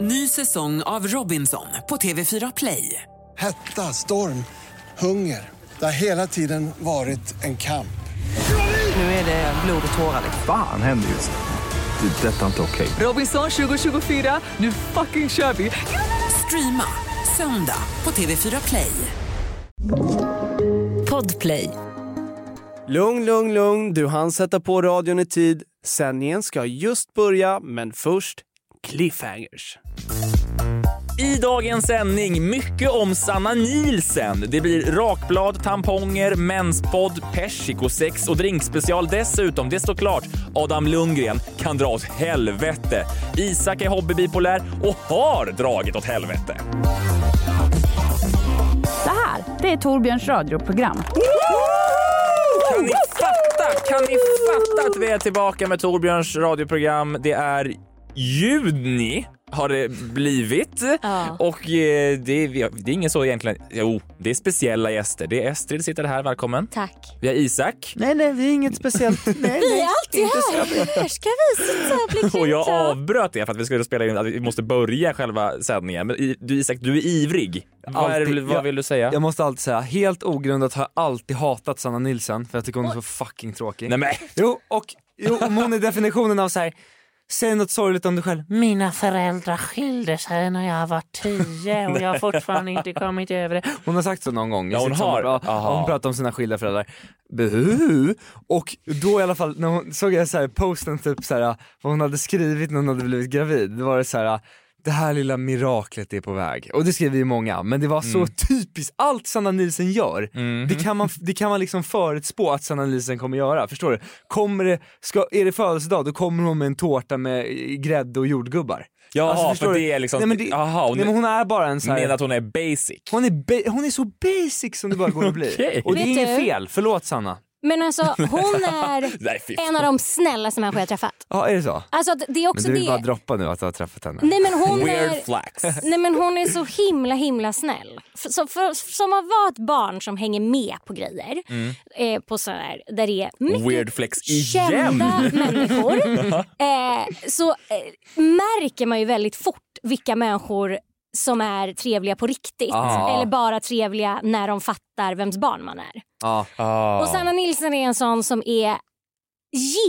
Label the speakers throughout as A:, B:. A: Ny säsong av Robinson på TV4 Play.
B: Hetta, storm, hunger. Det har hela tiden varit en kamp.
A: Nu är det blod och tårar. liksom.
C: Fan händer just nu. Det. är Detta är inte okej.
A: Robinson 2024, nu fucking kör vi! Streama söndag på TV4 Play.
D: Podplay.
E: Lugn, lugn, lugn. Du hann sätta på radion i tid. Sändningen ska just börja, men först cliffhangers.
F: I dagens sändning mycket om Sanna Nielsen. Det blir rakblad, tamponger, menspodd, persikosex och drinkspecial dessutom. Det står klart. Adam Lundgren kan dra åt helvete. Isak är hobbybipolär och har dragit åt helvete.
G: Det här, det är Torbjörns radioprogram.
F: Kan ni fatta? Kan ni fatta att vi är tillbaka med Torbjörns radioprogram? Det är juni har det blivit
D: Ja.
F: och eh, det är, vi har- det är ingen så egentligen. Jo, det är speciella gäster. Det är Estrid sitter här, välkommen.
D: Tack.
F: Vi har Isak
E: Nej, nej, vi är inget speciellt. Nej,
D: Vi är alltid här. Här ska vi sitta och bli
F: och jag
D: klippta.
F: avbröt det för att vi skulle spela in att vi måste börja själva sändningen. Men i- du Isak, du är ivrig. Vad, är, det-
H: Alltid.
F: vad
H: Jag-
F: vill du säga?
H: Jag måste alltid säga, helt ogrundat har jag alltid hatat Sanna Nilsson för jag tycker hon är så fucking tråkig.
F: Nej men
H: Jo, och jo, om hon är definitionen av så här. säg något sorgligt om dig själv.
I: Mina föräldrar skilde sig när jag var tio och jag har fortfarande inte kommit över det.
H: Hon har sagt så någon gång. i
F: Ja, hon
H: sitt
F: har.
H: sammanhang. Ja,
F: Aha.
H: hon pratar om sina skilda föräldrar. Buhu. Och då i alla fall, när hon, såg jag så här posten typ så här, vad hon hade skrivit när hon hade blivit gravid. Det var det så här, det här lilla miraklet är på väg. Och det skrev ju många, men det var så
F: Mm.
H: typiskt. Allt Sanna Nielsen gör, det, kan man, det kan man liksom förutspå att Sanna Nielsen kommer göra. Förstår du? Kommer det, ska, är det födelsedag, då kommer hon med en tårta med eh, grädde och jordgubbar. Alltså,
F: Jaha,
H: förstår
F: för
H: du?
F: det är liksom-
H: Nej men, det,
F: Jaha, och
H: nej,
F: nu-
H: men hon är bara en så här...
F: menar att hon är basic.
H: Hon är, ba- hon är så basic som det bara går att bli.
F: Okej.
H: Och det är
D: Vet
H: inget
D: du?
H: fel, förlåt Sanna.
D: Men alltså hon är
F: Nej, fy
D: en av de snällaste människor jag träffat.
H: Ja är det så?
D: Alltså att det är
H: Men
D: också
H: du vill bara
D: det.
H: droppa nu att du har träffat henne.
D: Nej men hon
F: Weird
D: är...
F: flax.
D: Nej men hon är så himla himla snäll. F- Som, för, som att vara ett barn som hänger med på grejer. Eh, på sådana här, där det är mycket
F: Mm. Weird flex igen.
D: kända människor. Eh, så eh, märker man ju väldigt fort vilka människor som är trevliga på riktigt.
H: Ah.
D: Eller bara trevliga när de fattar vems barn man är.
H: Ja.
F: Ah.
D: Och Sanna Nilsson är en sån som är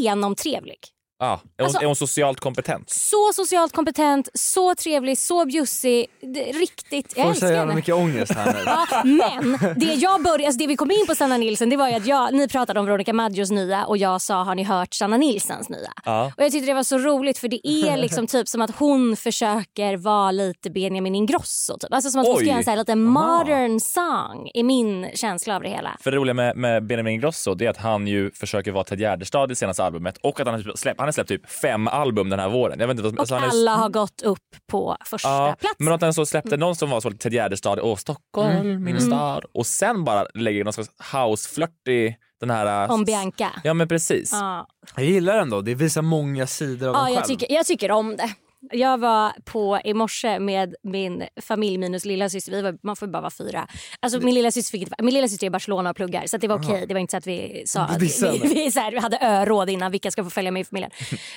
D: genomtrevlig.
F: Ah. Är, hon,
D: Alltså-
F: är hon socialt kompetent?
D: Så socialt kompetent, så trevlig, så bjussig. Det, riktigt,
H: Får
D: jag
H: så
D: älskar
H: jävla
D: henne.
H: mycket ångest här nu.
D: Ja, men det, jag började, alltså det vi kom in på Sanna Nilsson det var ju att jag, ni pratade om Veronica Maggios nya och jag sa har ni hört Sanna Nilssons nya?
F: Ja.
D: Och jag tyckte det var så roligt för det är liksom typ som att hon försöker vara lite Benjamin Ingrosso. Typ. Alltså som att hon
F: Oj.
D: ska göra en så här lite modern song i min känsla av det hela.
F: För det roliga med, med Benjamin Ingrosso det är att han ju försöker vara Ted Gärdestad i senaste albumet och att han har typ släppt, han har släppt typ fem album den här våren. Jag vet inte, vad-
D: Och
F: alltså han är-
D: alla har gått upp på första Mm.
F: Ja,
D: platsen.
F: men att han så släppte någon som var så Ted Gärdestad och Stockholm,
D: Mm.
F: min stad och sen bara lägger in någon slags houseflört i den här...
D: Om Bianca.
F: Ja men precis.
D: Ja.
H: Jag gillar den då, det visar många sidor av
D: Ja,
H: en
D: jag
H: själv.
D: tycker, jag tycker om det. Jag var på i morse med min familj minus lilla syster. Vi var, man får ju bara vara fyra. Alltså, min, lilla syster fick, inte- min lilla syster är i Barcelona och pluggar så att det var okej. Det var inte så att vi sa
H: Du
D: att
H: dissade.
D: vi, vi, så här, vi hade öråd innan vilka ska få följa med i familjen.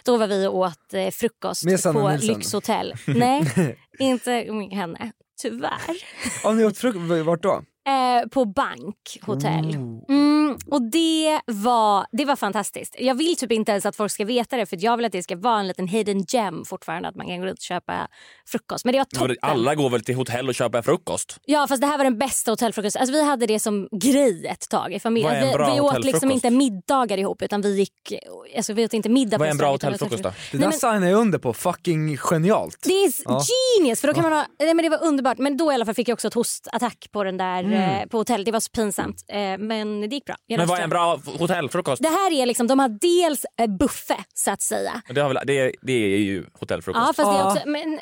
D: Då var vi och åt eh, frukost
H: Med Sanna
D: på
H: Nilsson.
D: lyxhotell. Nej, inte med henne. Tyvärr.
H: Ja, ni åt frukost, vart då?
D: Eh, på bankhotell. Mm, och det var, det var fantastiskt. Jag vill typ inte ens att folk ska veta det för att jag vill att det ska vara en liten hidden gem fortfarande att man kan gå ut och köpa frukost. Men det var toppen.
F: Alla går väl till hotell och köper frukost?
D: Ja fast det här var den bästa hotellfrukosten. Alltså, vi hade det som grej ett tag i
F: Vad är
D: familjen.
F: en
D: Vi,
F: bra
D: vi åt
F: hotellfrukost?
D: liksom inte middagar ihop utan vi gick, alltså, vi åt inte middag
F: Vad är en bra
D: restaurang, utan vi åt
F: hotellfrukost då?
H: Det
D: Nej,
H: där
D: men-
H: signar jag under på, fucking genialt.
D: Det är genius! För då kan man ha, nej men det var underbart. Men då i alla fall fick jag också ett hostattack på, den där, eh, på hotellet. Det var så pinsamt. Eh, men det gick bra. Jag
F: Mm. Men vad
D: löste
F: är en
D: det.
F: bra f- hotellfrukost?
D: Det här är liksom, de har dels eh, buffé så att säga.
F: Det, har väl, det, är- det är ju hotellfrukost.
D: Ja, fast det är
H: Ja.
D: också... Men...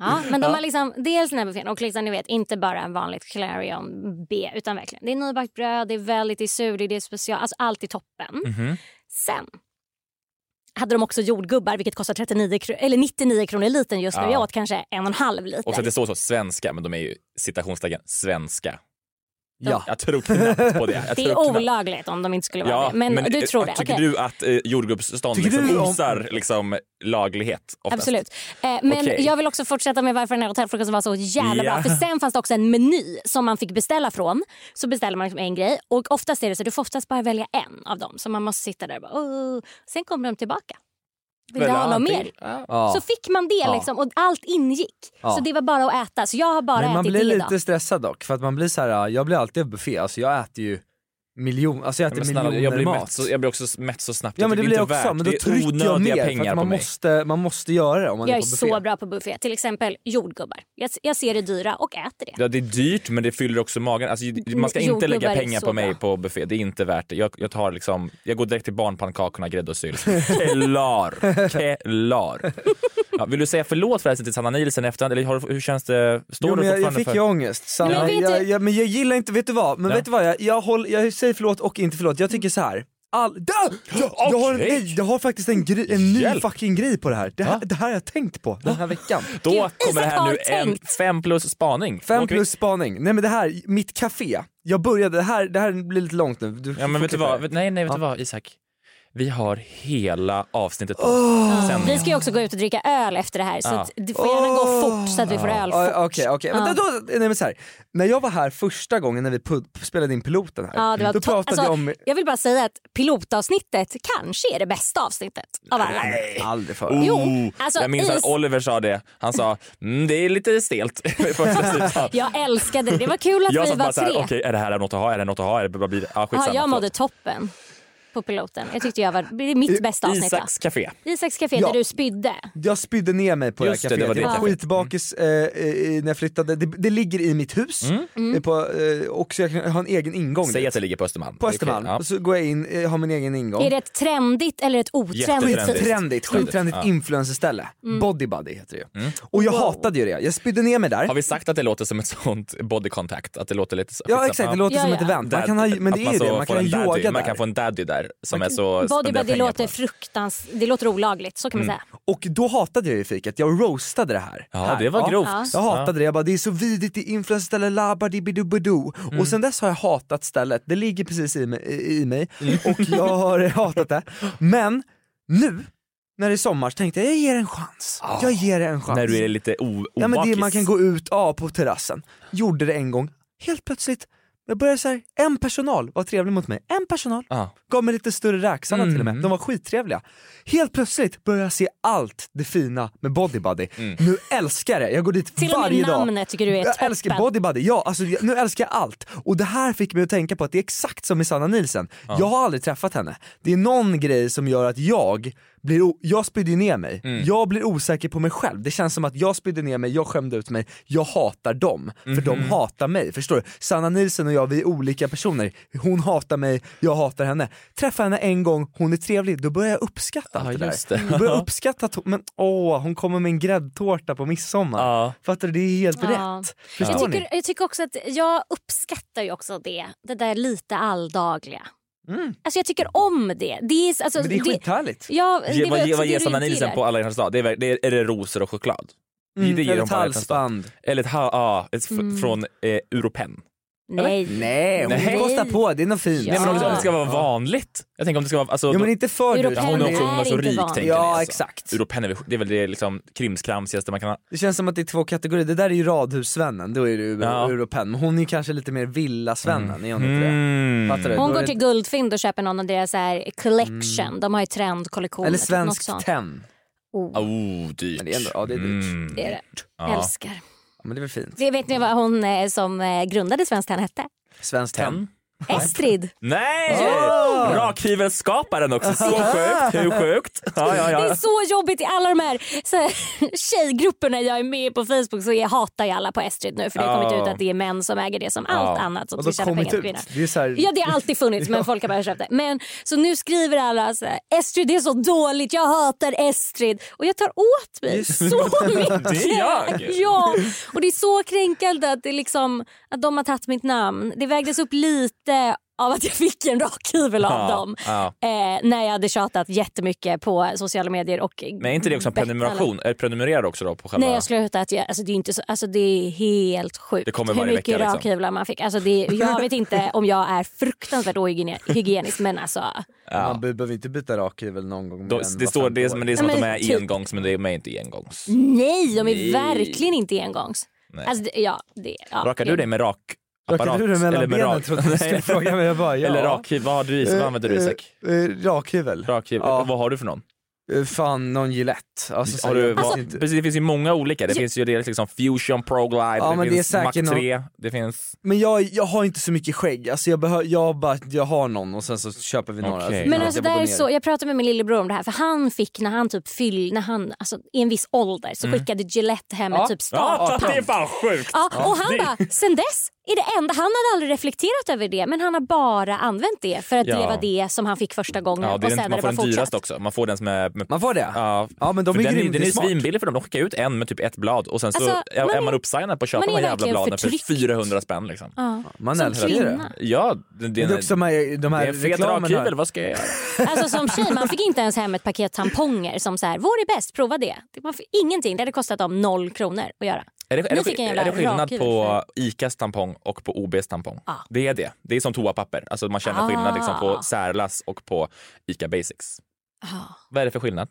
D: Ja, men de har liksom dels den här buffén och liksom, ni vet, inte bara en vanligt Clarion B utan verkligen det är nybakt bröd, det är väldigt, det är surdeg, det är special, alltså allt är toppen.
F: Mm. Mhm.
D: Sen hade de också jordgubbar vilket kostar 39 kro- eller 99 kronor liten just nu.
F: Ja.
D: Jag åt kanske en och en halv liter.
F: Och så att det står så svenska, men de är ju citationstecken svenska.
E: Ja.
F: Jag tror knappt på det. Jag
D: Det
F: tror
D: är
F: knappt-
D: olagligt om de inte skulle vara
F: Ja,
D: det. Men, du
F: eh,
D: tror det?
F: Tycker
D: okej.
F: du att eh, jordgubbsstånd
H: Tycker
F: liksom
H: du om-
F: osar liksom, laglighet? Oftast?
D: Absolut. Eh, men
F: Okej.
D: jag vill också fortsätta med varför den här hotellfrukosten var så jävla
F: Ja.
D: bra. För sen fanns det också en meny som man fick beställa från. Så beställer man liksom en grej och oftast är det så du får oftast bara välja en av dem. Så man måste sitta där och bara, "Åh." Sen kommer de tillbaka. Vill du
H: Välja
D: ha något
H: allting.
D: mer?
H: Ja.
D: Så fick man det liksom och allt ingick.
H: Ja.
D: Så det var bara att äta. Så jag har bara
H: Men man
D: ätit
H: blir
D: det
H: lite
D: idag.
H: stressad dock, för att man blir så här, jag blir alltid en buffé, alltså jag äter ju miljon, alltså jag
F: Ja,
H: äter
F: Men snälla,
H: miljoner
F: jag, blir
H: mat.
F: mätt så, jag blir också mätt så snabbt.
H: ja men det
F: är
H: blir jag
F: inte
H: också,
F: värt.
H: men då
F: Det är
H: trycker jag
F: onödiga
H: mer för
F: pengar
H: att
F: på
H: man
F: mig.
H: måste, man måste göra det om man
D: Jag är
H: på buffé.
D: så bra på buffé. Till exempel jordgubbar. Jag, jag ser det dyra och äter det.
F: Ja, det är dyrt men det fyller också magen. Alltså, man ska inte
D: Mm, jordgubbar
F: lägga
D: är
F: pengar
D: så
F: på mig
D: bra.
F: på buffé. Det är inte värt det. Jag, jag, tar liksom, jag går direkt till barnpannkakorna, grädde och sylt. Kellar! Kellar! Ja, vill du säga förlåt förresten till Sanna Nielsen i efterhand? Eller har, du- hur känns det? Står
H: Jo,
F: du
H: men jag, jag
F: fortfarande
H: fick
F: för...
H: ju ångest. Sanna,
D: Men vet
H: jag,
D: du-
H: jag, men jag gillar inte, vet du vad? Men
F: Ja.
H: vet du vad? Jag, jag, håller, jag säger förlåt och inte förlåt. Jag tycker så här. All, da, jag, jag, har, en-
F: Okej.
H: nej, jag har faktiskt en, gre- en ny
F: Hjälp.
H: fucking grej på det här. Det här,
F: Va?
H: det här har jag tänkt på den här veckan.
F: Då
D: Gud,
F: kommer det
D: Isak
F: här
D: har
F: nu en
D: tänkt.
F: fem plus spaning.
H: Fem
F: Åker vi-
H: plus spaning. Nej men det här, mitt café. Jag började, det här, det här blir lite långt nu. Du
F: Ja
H: får
F: men vet du
H: klippa
F: vad,
H: det.
F: Vet- nej nej vet du vad Isak? Vi har hela avsnittet på oss. Sen-
D: Vi ska ju också gå ut och dricka öl efter det här. Så
F: Ja.
D: att det får gärna gå fort så att vi får öl fort.
H: Ja, Okej, okej. Men då- då- Nej men så här. När jag var här första gången när vi pu- spelade in piloten här,
D: Ja, det var
H: då
D: to-
H: pratade jag
D: alltså,
H: om...
D: Jag vill bara säga att pilotavsnittet kanske är det bästa avsnittet av alla.
H: Aldrig förut.
F: Oh,
D: Jo, alltså,
F: jag minns att
D: is-
F: Oliver sa det. Han sa mm, det är lite stelt. i första sidan.
D: Jag älskade det. Det var kul att
F: jag
D: vi
F: satt bara
D: var
F: såhär,
D: tre.
F: okej är det här något att ha? Är det något att ha? Är det, vad blir det? Ah,
D: ja,
F: skitsamma.
D: jag mådde toppen på piloten. Jag tyckte jag var, det är mitt bästa avsnitt. Isaks,
F: Isaks café.
D: Isaks café
H: Ja.
D: där du spydde.
H: Jag spydde ner mig på
F: Just
H: det
F: det,
H: här
F: det
H: caféet.
F: var det
H: jag var
F: caféet.
H: skitbakis eh, eh, när jag flyttade. Det, det ligger i mitt hus
D: Mm.
H: eh, På, eh, och så jag kan ha en egen ingång.
F: Mm. Säg
H: dit.
F: att det ligger på Östermalm.
H: på
F: Det är
H: Östermalm.
F: okej, ja.
H: Och så går jag in, eh, har min egen ingång.
D: Är det ett trendigt eller ett otrendigt?
F: Jättetrendigt.
D: sätt?
H: Skittrendigt, skittrendigt
F: Ja. Mm.
H: influencerställe.
D: Mm.
H: Body Buddy heter det ju. Och jag hatade ju det. Jag spydde ner mig där.
F: Har vi sagt att det låter som ett sånt body contact? Att det låter lite så-
H: Ja
F: skitsamma.
H: exakt, det låter
D: Ja,
H: som
D: ja.
H: ett event. Man
F: Dad-
H: kan ha, men
F: att
H: det är ju det,
F: så får
H: man kan ha
F: en daddy,
H: yoga
F: Man kan få
H: där.
F: en daddy där som är så
D: Body
F: spenderar
D: Buddy
F: pengar
D: låter
F: på. Mm.
D: fruktans... Det låter olagligt, så kan man säga.
H: Och då hatade jag ju fiket, jag roastade det här.
F: Ja,
H: här.
F: det var grovt.
D: Ja.
H: Jag hatade det, jag bara det är så vidigt, det är influencerställe, labadibidubudu.
F: Mm.
H: Och sen dess har jag hatat stället, det ligger precis i mig, i mig.
F: Mm.
H: och jag har hatat det. Men nu, när det är sommar, så tänkte jag jag ger det en chans. Jag ger det en chans.
F: Ah. När du är lite o-
H: ja, men det,
F: obakis.
H: Man kan gå ut ja, på terrassen. Gjorde det en gång, helt plötsligt, jag började så här, en personal var trevlig mot mig, en personal.
F: Ja.
H: Gav mig lite större räksanna till och med, de var skittrevliga. Helt plötsligt började jag se allt det fina med Body Buddy. Nu älskar jag det, jag går dit
D: Till och
H: varje
D: med
H: dag.
D: namnet tycker du är
H: Jag
D: toppen.
H: älskar Body Buddy, ja alltså jag, nu älskar jag allt. Och det här fick mig att tänka på att det är exakt som med Sanna Nielsen. Jag har aldrig träffat henne. Det är någon grej som gör att jag blir, o- jag spydde ju ner mig.
F: Mm.
H: Jag blir osäker på mig själv. Det känns som att jag spydde ner mig, jag skämde ut mig, jag hatar dem. För de
F: Mhm.
H: hatar mig, förstår du? Sanna Nielsen och jag, vi är olika personer. Hon hatar mig, jag hatar henne. Träffar henne en gång, hon är trevlig, då börjar jag uppskatta
F: Ja,
H: allt det
F: just
H: där.
F: det.
H: Jag börjar uppskatta, att hon- men åh, hon kommer med en gräddtårta på midsommar.
F: Ja.
H: Fattar du? Det är helt
D: Ja.
H: rätt.
D: Jag
H: Förstår ni?
D: tycker, jag tycker också att jag uppskattar ju också det, det där lite alldagliga.
F: Mm.
D: Alltså jag tycker om det. det, är, alltså,
H: Men det är skithärligt.
D: Ja, det
F: Ge,
D: var
F: vad
D: också
F: ge, vad
D: det
F: ger
D: du
F: Sanna
D: inte
F: Nielsen
D: gillar.
F: på alla hjärtans dag? Det är, väl- det är, är det rosor och choklad? det ger
H: Mm, eller
F: de
H: ett
F: på alla hjärtans dag.
H: halsband.
F: Eller ett ha, ah, ett f-
D: Mm.
F: från eh, Europen?
D: Nej.
H: Nej, hon
F: Nej.
H: kostar på, det är något fint.
D: Ja.
F: Nej men om det,
D: Ah.
F: om det ska vara vanligt? Jag tänker om det ska vara... Alltså,
H: Ja men inte för
D: Europen
H: dyrt.
F: Ja, hon är också hon är så
D: är inte
F: rik
D: vanligt.
F: tänker ni,
H: Ja
F: alltså.
H: exakt.
F: Europen är väl- det är väl det liksom krimskramsigaste man kan ha.
H: Det känns som att det är två kategorier, det där är ju radhusvännen, då är det ju
F: Ja.
H: europen. Men hon är ju kanske lite mer villasvennen, är hon inte det?
F: Mm.
H: Fattar du?
D: Hon
H: Då
D: går
H: är
D: till
H: det-
D: Guldfynd och köper någon av deras så här collection. De har ju trendkollektioner.
H: Mm. Eller
D: typ, något
H: svensk
D: sånt.
H: tenn.
F: Oh, dyrt.
H: Men det är ändå, ja det är dyrt.
F: Mm.
D: Det är det.
F: Ja.
D: Älskar.
H: Ja, men det är väl fint.
D: Det vet ni vad hon eh, som eh, grundade Svenskt Tenn hette?
H: Svensk tenn.
F: Ten.
D: Estrid.
F: Nej! Rakhyvelskaparen också, så sjukt, hur sjukt? Ja, ja,
D: Det
F: ja.
D: är så jobbigt i alla de här, så här tjejgrupperna jag är med i på Facebook så jag hatar ju alla på Estrid nu för det har kommit
F: Ja.
D: ut att det är män som äger det som allt
F: Ja.
D: annat som
H: Och då
D: ska tjäna pengar
H: kommit
D: på
H: ut.
D: kvinnor.
H: Det är så här,
D: Ja det har alltid funnits men folk har bara köpt det. Men så nu skriver alla så här, Estrid det är så dåligt, jag hatar Estrid. Och jag tar åt mig så mycket.
F: Det är jag.
D: Ja, och det är så kränkande att, det liksom, att de har tagit mitt namn. Det vägdes upp lite av att jag fick en rakhyvel av
F: Ja,
D: dem
F: ja.
D: eh, när jag hade tjatat jättemycket på sociala medier. Och
F: Men är inte det också en
D: bett alla-
F: prenumeration? Eller prenumererar också då på själva...
D: Nej jag skulle hävda att jag, alltså, det, är inte så, alltså, det är helt sjukt
F: Det kommer
D: hur
F: varje
D: mycket
F: vecka, liksom.
D: rakhyvlar man fick. Alltså, det, jag vet inte om jag är fruktansvärt ohygienisk men alltså
H: Man be- behöver inte byta rakhyvel någon gång. mer
F: de,
H: än
F: det
H: var
F: står
H: femte
F: det,
H: år.
F: men det är som
D: Ja,
F: att de
D: men
F: är
D: typ.
F: engångs men de är inte engångs.
D: nej de är
F: Nej.
D: verkligen inte engångs. Alltså, det, ja, det, ja,
F: Rakar
D: det-
F: du dig med rakapparat?
H: Rakar du dig mellan
F: Eller
H: benen
F: med rak-
H: trodde jag du skulle fråga mig. Jag bara, ja.
F: Eller rak, vad har du i Vad använder du
H: Eh,
F: Isak?
H: eh, eh, Rakhyvel?
F: Rakhyvel?
H: Ja.
F: Vad har du för någon?
H: Eh, Fan, någon Gillette. Alltså, så
F: Har
H: här,
F: du,
H: jag vet
F: vad,
H: inte.
F: precis, det finns ju många olika. Det finns ju det liksom Fusion Pro Glide,
H: Ja, men
F: det
H: det
F: finns
H: är
F: Mac
H: säkert
F: 3, det finns...
H: Men jag, jag har inte så mycket skägg, alltså jag, behö, jag, bara, jag har någon och sen så köper vi några.
F: Okej.
H: så kan
D: Men
H: jag
D: alltså
H: gå
D: där är
H: ner.
D: så, jag pratade med min lillebror om det här för han fick när han typ fyll, när han, alltså i en viss ålder så skickade Gillette hem ett typ
F: Mm. Ja, det är
D: startpant.
F: fan sjukt!
D: Ja, och han bara, sen dess är det enda, han hade aldrig reflekterat över det men han har bara använt det för att det
F: Ja.
D: var det som han fick första gången
F: Ja, det
D: och
F: är
D: sen
F: den,
D: har
F: man får
D: det bara
F: den
D: fortsatt.
F: dyraste också. Man får den som är... Med,
H: Man får det?
F: Ja.
H: Ja, men de
F: för
H: är
F: den,
H: grymt,
F: den är
H: det är
F: ju
H: smart.
F: svinbillig för dem. De skickar ut en med typ ett blad och sen så
D: Alltså,
F: är
D: man
F: är
D: är-
F: man uppsignad på att köpa
D: man
F: de
D: är
F: här jävla
D: verkligen
F: bladen för
D: förtryckt.
F: 400 spänn. Liksom.
D: Ja.
H: Man
D: Som
H: älskar det.
D: kvinna.
F: Ja, det, det,
H: Men det är också de här, de
F: det
H: här
F: är en fet
H: reklamen
F: rakhyvel,
H: här.
F: vad ska jag göra?
D: Alltså som tjej, man fick inte ens hem ett paket tamponger som så här, vår är bäst, prova det. Man fick ingenting, det hade kostat dem noll kronor att göra.
F: Är det, är
D: Nu
F: det,
D: fick jag en
F: skill-
D: jävla
F: är det skillnad
D: rakhyvel
F: på
D: för-
F: ICAs tampong och på OBs tampong?
D: Ja.
F: Det är det. Det är som toapapper. Alltså man känner skillnad liksom på
D: Ah.
F: Särlas och på ICA Basics.
D: Ah.
F: Vad är det för skillnad?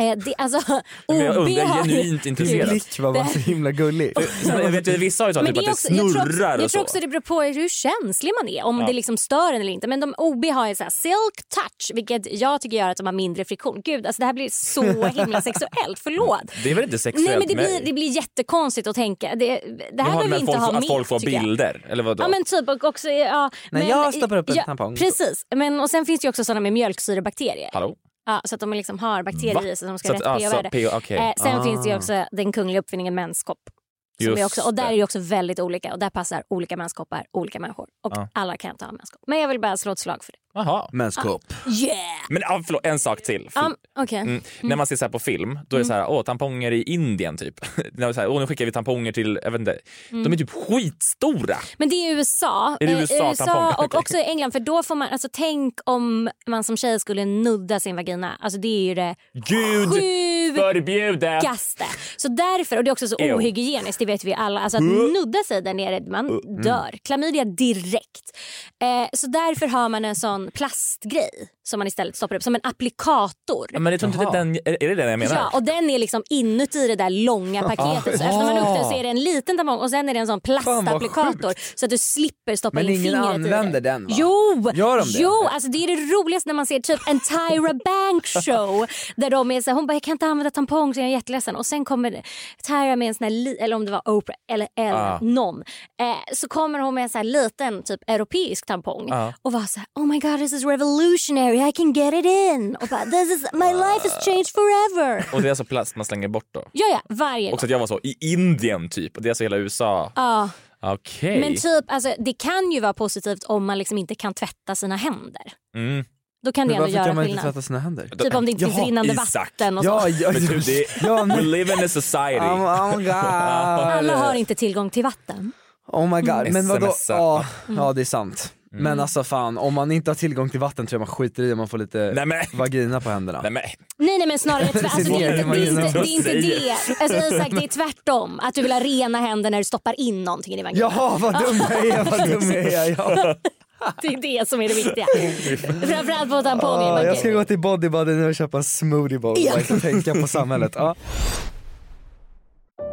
D: Eh, det, alltså,
F: Men jag
D: OB
F: undrar,
D: har ju-
F: genuint
H: Din
F: intresserad.
H: blick var bara så himla gullig.
F: Sen, jag vet, ju, vissa har ju sagt
D: Men
F: typ
D: det
F: att det
D: är också, jag tror också,
F: snurrar
D: jag
F: och
D: tror
F: så.
D: också det beror på hur känslig man är, om
F: Ja.
D: det liksom stör en eller inte. Men de OB har ju så här silk touch, vilket jag tycker gör att de har mindre friktion. Gud, alltså det här blir så himla sexuellt, förlåt.
F: Det är väl inte sexuellt?
D: Nej men det
F: med-
D: blir, det blir jättekonstigt att tänka. Det, det
F: Jaha,
D: här behöver
F: men
D: vi inte
F: folk,
D: ha med.
F: Att folk får
D: tycker jag.
F: bilder? Eller vadå?
D: Ja men typ och också... Ja,
H: När
D: men,
H: jag stoppar upp en
D: ja,
H: tampong.
D: Precis, men, och sen finns det ju också sådana med mjölksyrebakterier.
F: Hallå?
D: Ja, så att de liksom har bakterier
F: Va?
D: i sig som de
F: Så
D: ska
F: att,
D: ha rätt
F: alltså,
D: pH-värde.
F: PO okej. Ah.
D: Eh, sen finns det ju också den kungliga uppfinningen menskopp. Som
F: Just
D: är också, och där
F: det.
D: är det också väldigt olika och där passar olika menskoppar olika människor. Och
F: Ja.
D: alla kan inte ha menskopp. Men jag vill bara slå ett slag för det.
F: Jaha.
H: Menskopp.
D: Yeah!
F: Men ah, förlåt, en sak till. För-
D: Um, Okej.
F: Mm. När man ser så här på film, då är det så
D: Mm.
F: här, åh, tamponger i Indien typ. När man så här, åh, nu skickar vi tamponger till, jag vet inte.
D: Mm.
F: De är typ skitstora.
D: Men det är USA,
F: Är det
D: Eh,
F: USA tamponger?
D: och
F: Okej.
D: också i England. För då får man, alltså, tänk om man som tjej skulle nudda sin vagina. Alltså, det är ju det
F: Gud
D: sjukaste.
F: förbjude!
D: Så därför, och det är också så
F: Ew.
D: ohygieniskt, det vet vi alla. Alltså att nudda sig där nere, man
F: Uh, mm.
D: dör. Klamydia direkt. Eh, så därför har man en sån plastgrej som man istället stoppar upp, som en applikator.
F: Men jag tror inte det är den, är är det den jag menar?
D: Ja, och den är liksom inuti det där långa paketet. Så
H: Ah.
D: öppnar man upp den så är det en liten tampong och sen är det en sån plastapplikator så att du slipper stoppa
H: Men
D: in
H: ingen
D: fingret
H: använder
D: i det.
H: den, va?
D: Jo!
H: Gör de det?
D: Jo, alltså det är det roligaste när man ser typ en Tyra Banks show där de är så här, hon bara jag kan inte använda tampong så jag är jätteledsen och sen kommer Tyra med en sån här, li- eller om det var Oprah eller, eller
F: Ah.
D: någon, eh, så kommer hon med en sån här liten typ europeisk tampong
H: Ah.
F: Ja.
D: och var så här, oh my god this is revolutionary I can get it in och bara this is my life has changed forever.
F: Och det är alltså plast man slänger bort då?
D: Ja, ja, varje
F: Och
D: gång.
F: så att jag var så, i Indien typ, och det är alltså hela USA.
D: Ja,
F: Okej.
D: men typ, alltså, det kan ju vara positivt om man liksom inte kan tvätta sina händer.
F: Mm.
D: Då kan det
H: Men
D: ändå
H: varför
D: göra
H: kan man inte
D: skillnad.
H: tvätta sina händer?
D: Typ om det inte finns
H: Jaha,
D: rinnande
F: Isak.
D: vatten. Och så.
H: Ja, ja,
F: Men du,
H: just-
F: det,
H: ja,
F: we
H: men-
F: live in a society.
H: Oh, oh my god.
D: Alla har inte tillgång till vatten.
H: Oh my god. Men vadå?
F: SMS-a.
H: Ja, ja, det är sant. Men alltså fan, om man inte har tillgång till vatten tror jag man skiter i om man får lite
F: Nej, men-
H: vagina på händerna.
F: Nej men,
D: Nej, nej men snarare tvärt- alltså, det, är inte, det, är inte, det är inte det. Alltså, Isak, det är tvärtom. Att du vill ha rena händer när du stoppar in någonting i din vagina.
H: Jaha vad dum jag är, vad dum jag är. Ja.
D: Det är det som är det viktiga. Framförallt på tampongen.
H: Ja,
D: men
H: jag
D: gud.
H: ska gå till Bodybody nu och köpa en smoothie bowl och liksom tänka på samhället. Ja.